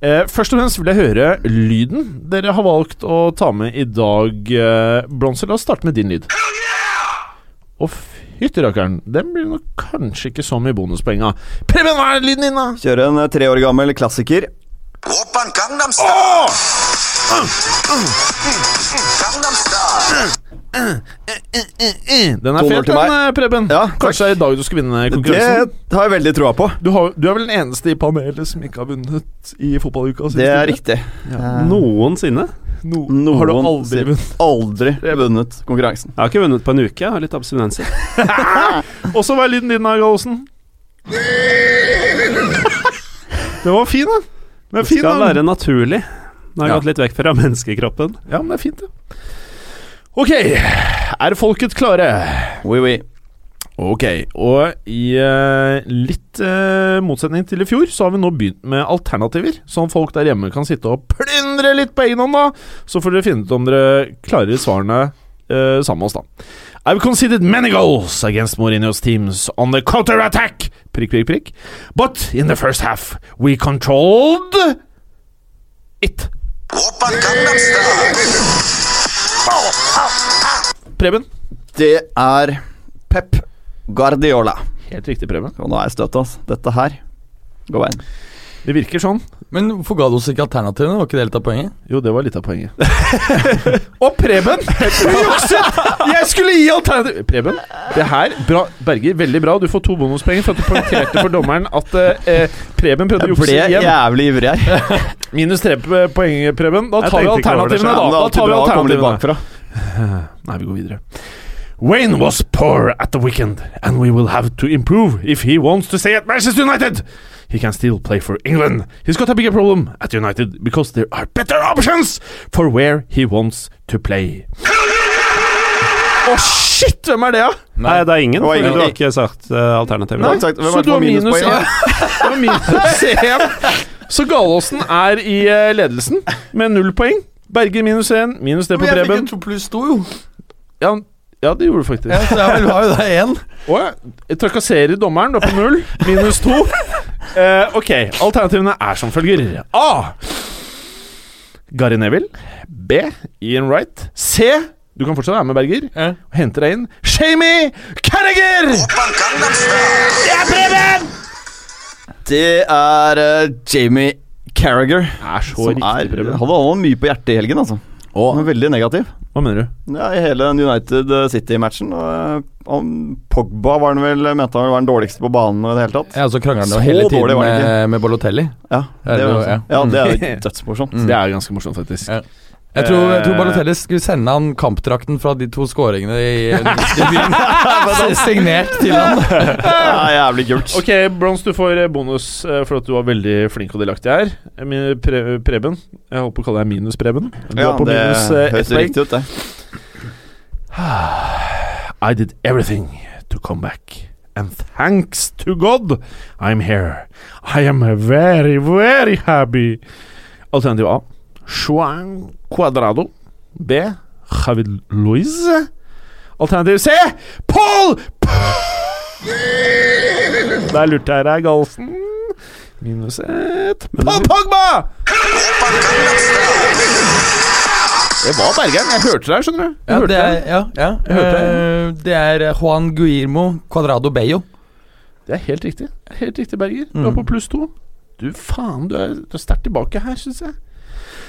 Eh, først og fremst vil jeg høre lyden dere har valgt å ta med i dag. Uh, Bronse, la oss starte med din lyd. Og fytti rakkeren, den blir nok kanskje ikke så mye bonuspoeng av. Preben, hva er lyden din, da?
Kjøre en eh, tre år gammel klassiker.
Oppan Gangnam Style. Gangnam Style.
Den
Toner
er fet,
til
den,
meg.
eh, Preben.
Ja,
kanskje det er i dag du skal vinne
Det
konkurransen.
har jeg veldig troa på.
Du, har, du er vel den eneste i panelet som ikke har vunnet i fotballuka? sist
Det er
uke?
riktig.
Noensinne.
No,
Noen
har du aldri
sier-
vunnet?
Aldri vunnet konkurransen.
Jeg har ikke vunnet på en uke, jeg har litt abstinenser.
Og så var lyden din, Gallosen. det var fin, da. Det er
Det
fin,
skal
da.
være naturlig. Nå har
Ja.
jeg gått litt vekk fra menneskekroppen.
Ja, men det er fint, det. Ok, er folket klare?
Oui, oui.
Ok, og i eh, litt eh, motsetning til i fjor, så har vi nå begynt med alternativer. Sånn folk der hjemme kan sitte og plyndre litt på egen hånd, da. Så får dere finne ut om dere klarer svarene eh, sammen med oss, da. I've conceded many goals against Mourinho's teams on the counter-attack! Prikk, prikk, prikk. But in the first half, we controlled it.
Oppan Gangnam Style.
Preben.
Det er Pep Guardiola.
Helt riktig, Preben.
Og nå er jeg støtt, ass. Dette her går veien.
Det virker sånn.
Men hvorfor ga du oss ikke alternativene? Var ikke det litt av poenget?
Jo, det var litt av poenget. og Preben! Du jukset! Jeg skulle gi alternativ Preben, det her bra, Berger, veldig bra. Du får to bonuspenger for at du poengterte for dommeren at eh, Preben prøvde å
Jeg
jukse
ble
igjen.
jævlig ivrig her.
Minus tre p- poeng, Preben. Da
Jeg
tar vi
tenkte ikke over det
alternativene,
selv,
da.
Men det er
da
alltid
tar vi
bra å komme litt
alternativene.
bakfra.
Nei, vi går videre. Wayne was poor at the weekend, and we will have to improve if he wants to stay at Manchester United. He can still play for England. He's got a bigger problem at United because there are better options for where he wants to play. Å, shit! Hvem er det, da?
Nei, det er ingen,
Det var
fordi
ingen.
du har ikke sagt uh, alternativet.
Nei, sagt, hvem
Så
er det
du
som
har
har
minus
minuspoeng?
én. Det var minus én. Så Galåsen er i eh, ledelsen med null poeng. Berger minus én, minus det på
Men jeg fikk
Preben.
en to pluss to, jo.
Ja, ja, det gjorde du faktisk.
Ja, så jeg vel har jo da én.
Å ja. Jeg Trakasserer dommeren, du er på null. Minus to. Eh, ok, alternativene er som følger. A. Gary Neville. B. Ian Wright. C. Du kan fortsatt være med, Berger.
Ja.
Og hente deg inn. Shamey Carriger!
Oppan Gangnam Style.
Det er Preben!
Det er eh, Jamie Carragher.
Er så
Som er,
riktig,
hadde
Preben.
han mye på hjertet i helgen, altså. Han
Å,
var veldig negativ.
hva mener du?
Ja, I hele United eh, City-matchen. og, eh, han- Pogba var han vel, mente han var den dårligste på banen i det hele tatt.
Ja, og så krangler han
Så
jo hele
dårlig
tiden
var det
med, med Bolotelli.
Ja, det,
Ja, det
var,
var-
også-
ja.
ja, det er jo
Mm.
dødsmorsomt.
Det er ganske morsomt, faktisk.
Ja. Jeg tror, jeg tror
Eh.
Balotelli skulle sende han kampdrakten fra de to skåringene i, i byen. Signert til han.
Det er jævlig kult.
Ok, Brons, du får eh, bonus eh, for at du var veldig flink og delaktig her. Eh, min- Pre Preben. Jeg holdt på å kalle deg minus Preben. Du
Ja,
er på
det
minus eh, ett
høres
poeng.
riktig ut, det.
I did everything to come back. And thanks to God, I'm here. I am very, very happy. Alternativ A. Juan Cuadrado. B. Javid Luiz. Alternativ C. Paul P- Der lurte jeg deg, Galsen. Minus ett. Paul Pogba!
Oppan Gangnam Style.
Det var Bergeren. Jeg hørte deg, skjønner du. Jeg
Ja,
hørte
det er,
deg.
ja, ja.
Jeg hørte
Eh, det er Juan Guirmo Cuadrado Bello.
Det er helt riktig. Helt riktig, Berger. Du er på pluss to. Du faen, du er, du er sterkt tilbake her, syns jeg.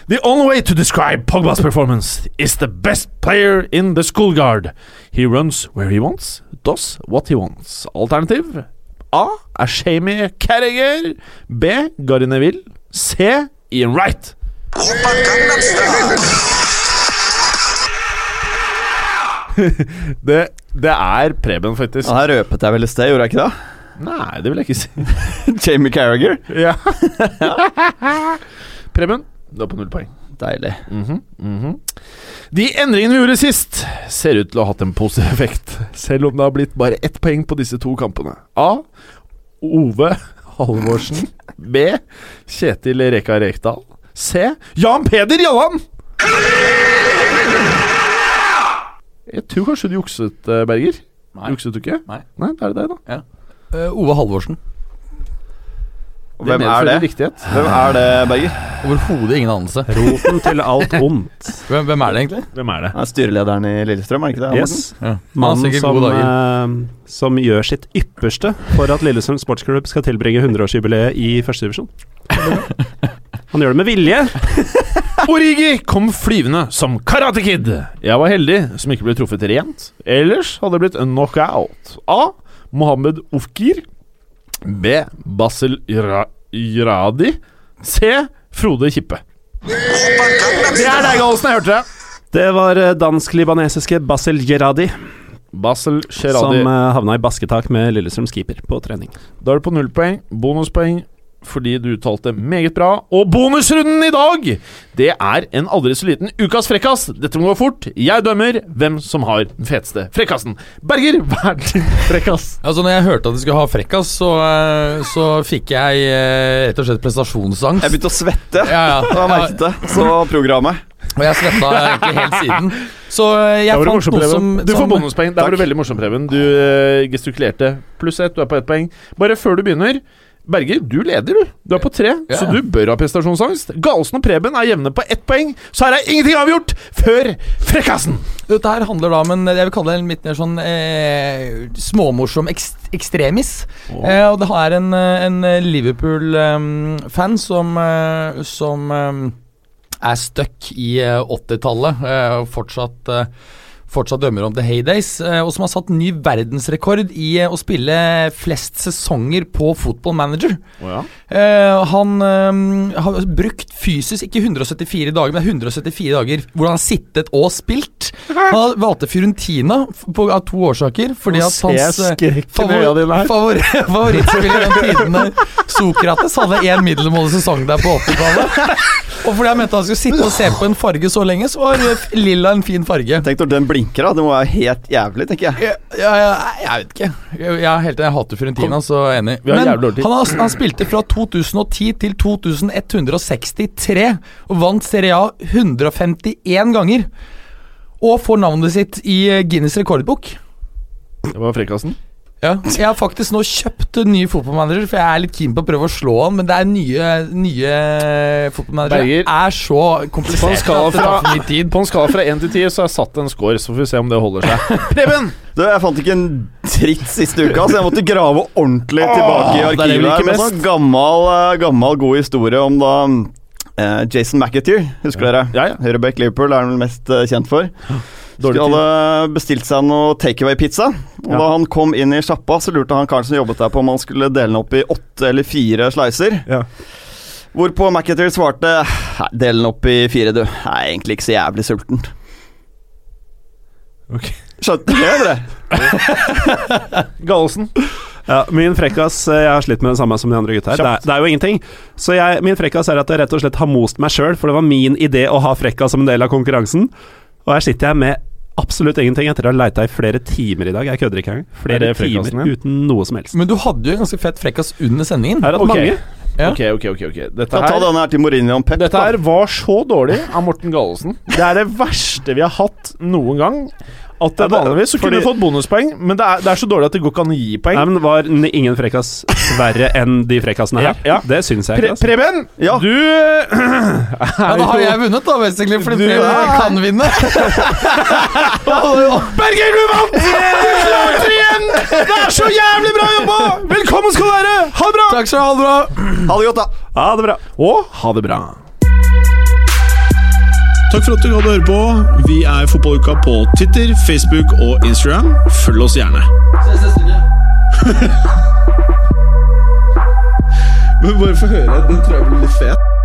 The only way to describe Pogba's performance is the best player in the school guard. He runs where he wants, does what he wants. Alternativ A er Shamey Carriger. B. Gary Neville. C. Ian Wright.
Oppan Gangnam Style.
Det, det er Preben, faktisk.
Ja, her røpet jeg vel i sted, gjorde jeg ikke det?
Nei, det vil jeg ikke si.
Jamie Carragher.
Ja. Preben, du er på null poeng.
Deilig.
Mhm, mhm. De endringene vi gjorde sist, ser ut til å ha hatt en positiv effekt, selv om det har blitt bare ett poeng på disse to kampene. A. Ove Halvorsen. B. Kjetil Reka Rekdal. C. Jan Peder Jalland! Jeg tror kanskje du jukset, eh, Berger.
Nei.
Jukset du ikke?
Nei.
Nei, da er det deg, da.
Eh, Ove Halvorsen.
Og Hvem er
medfører
det?
Riktighet.
Hvem er det, Berger?
Overhodet ingen anelse.
Roten til alt ondt.
Hvem, hvem er det egentlig?
Hvem er det?
Han er Styrelederen i Lillestrøm, er det ikke det? Morten?
Yes.
Ja. Han har
Mannen
sikkert
som,
gode dager.
eh, som gjør sitt ypperste for at Lillestrøm Sportsklubb skal tilbringe 100-årsjubileet i førstedivisjon. Han gjør det med vilje.
Origi kom flyvende som Karate Kid. Jeg var heldig som ikke ble truffet rent. Ellers hadde det blitt en knockout. A. Mohammed Ofkir. B. Basel Ira- Iradi. C. Frode Kippe.
Oppan Gangnam
Det er
Style.
deg, Galsen. Jeg hørte det.
Det var eh, dansk-libanesiske Basil Geradi
Basel
som
Sheradi.
eh, havna i basketak med Lillestrøms keeper på trening.
Da er du på null poeng. Bonuspoeng fordi du uttalte meget bra. Og bonusrunden i dag, det er en aldri så liten ukas frekkas. Dette må gå fort. Jeg dømmer hvem som har den feteste frekkasen. Berger, hva er din frekkas?
Altså, når jeg hørte at de skulle ha frekkas, så, eh, så fikk jeg eh, rett og slett
Jeg
prestasjonsangst.
begynte å svette.
Ja, ja.
Da jeg merket det. Så programmet.
Og jeg svetta egentlig helt siden. Så eh,
Der
jeg
var du
fant
morsom,
noe
Preben.
som
Du får
som-
bonuspoeng. Der var du veldig morsom, Preben. Du eh, gestikulerte. Pluss ett, du er på ett poeng. Bare før du begynner Berger, du leder, du. Du er på tre,
Ja.
så du bør ha prestasjonsangst. Galsen og Preben er jevne på ett poeng, så her er ingenting avgjort før frekkasen!
Dette her handler da om en jeg vil kalle det en litt mer sånn eh, småmorsom ekst ekstremis. Eh, og det er en, eh, en Liverpool-fan som, eh, som eh, er stuck i eh, 80-tallet eh, og fortsatt eh, fortsatt dømmer om The Heydays, eh, og som har satt ny verdensrekord i eh, å spille flest sesonger på Football Manager.
Å ja.
Eh, han eh, har brukt fysisk ikke 174 dager, men 174 dager hvor han har sittet og spilt. Han valgte Fiorentina f- på, av to årsaker. Fordi at
ser
hans eh,
skrekken i
favor-
øya dine her.
favor- favorittspiller gjennom tidene, Sokrates, hadde én middelmådig sesong der på 80-tallet. Og fordi han mente han skulle sitte og se på en farge så lenge, så var eh, lilla en fin farge.
Tenk når den blinker, da. Det må være helt jævlig, tenker jeg.
Ja, ja, ja, jeg vet ikke. Jeg, jeg, er helt, jeg hater Fiorentina, så jeg er enig.
Vi har jævlig dårlig tid.
han, har, han spilte fra 2010 til 2163 og vant Serie A 151 ganger. Og får navnet sitt i eh, Guinness rekordbok.
Det var frekkasen.
Ja. Jeg har faktisk nå kjøpt en ny fotballmanager, for jeg er litt keen på å prøve å slå han, men det er nye, nye fotballmanagere
Berger.
er så
På en
kompliserte
skala
at det tar
fra-
for mye tid.
På en skala fra 1 til 10 så har jeg satt en score, så får vi se om det holder seg. Preben!
Du, jeg fant ikke en dritt siste uka, så jeg måtte grave ordentlig tilbake i
det er det vi
arkivet.
liker
her, Med
best.
sånn gammel, eh, gammel, god historie om da eh, Jason McAteer, husker dere?
Ja, ja.
Høyrebekk Liverpool er han vel mest eh, kjent for. Dårlig
Dårlig tid.
hadde bestilt seg noe takeaway-pizza. Og
Ja.
Da han kom inn i sjappa, så lurte han karen som jobbet der på om han skulle dele den opp i åtte eller fire slicer.
Ja.
Hvorpå McAteer svarte Nei, del den opp i fire, du. Jeg er egentlig ikke så jævlig sulten.
Ok.
Skjønte dere det?
Gallosen.
Ja, min frekkas eh, Jeg har slitt med det samme som de andre gutta her. Det er, det er jo ingenting. Så jeg, min frekkas er at jeg rett og slett har most meg sjøl, for det var min idé å ha frekkas som en del av konkurransen. Og her sitter jeg med absolutt ingenting etter å ha leita i flere timer i dag. Jeg kødder ikke engang. Flere
Er det frekkasen
timer
din?
uten noe som helst.
Men du hadde jo en ganske fett frekkas under sendingen.
Her er det
Ok.
mange.
Ja.
Ok, ok, ok. ok Dette
Ta, ta
her,
denne her til Mourinho om Pep.
dette
da.
her var så dårlig av Morten Gallosen. Det er det verste vi har hatt noen gang. At det,
Ja, det-
vanligvis så kunne
fordi-
du fått bonuspoeng, men det er, det er så dårlig at det går ikke an å gi poeng.
Nei, men var n- ingen frekkas verre enn de frekkasene her?
Ja, ja.
Det syns jeg
Pre
ikke. altså.
Preben,
Ja.
du
Ja, da har jeg vunnet, da, basically, fordi
Du-
Preben kan vinne.
Berger, du vant! Du klarte det igjen! Det er så jævlig bra jobba! Velkommen skal du være! Ha det bra!
Takk skal du ha, ha det bra.
Ha det godt, da.
Ha det bra.
Og ha det bra.
Takk for at du hadde høre på. Vi er Fotballuka på Twitter, Facebook og Instagram. Følg oss gjerne.
Ses neste uke.
Men bare få høre. Den tror jeg blir litt fet.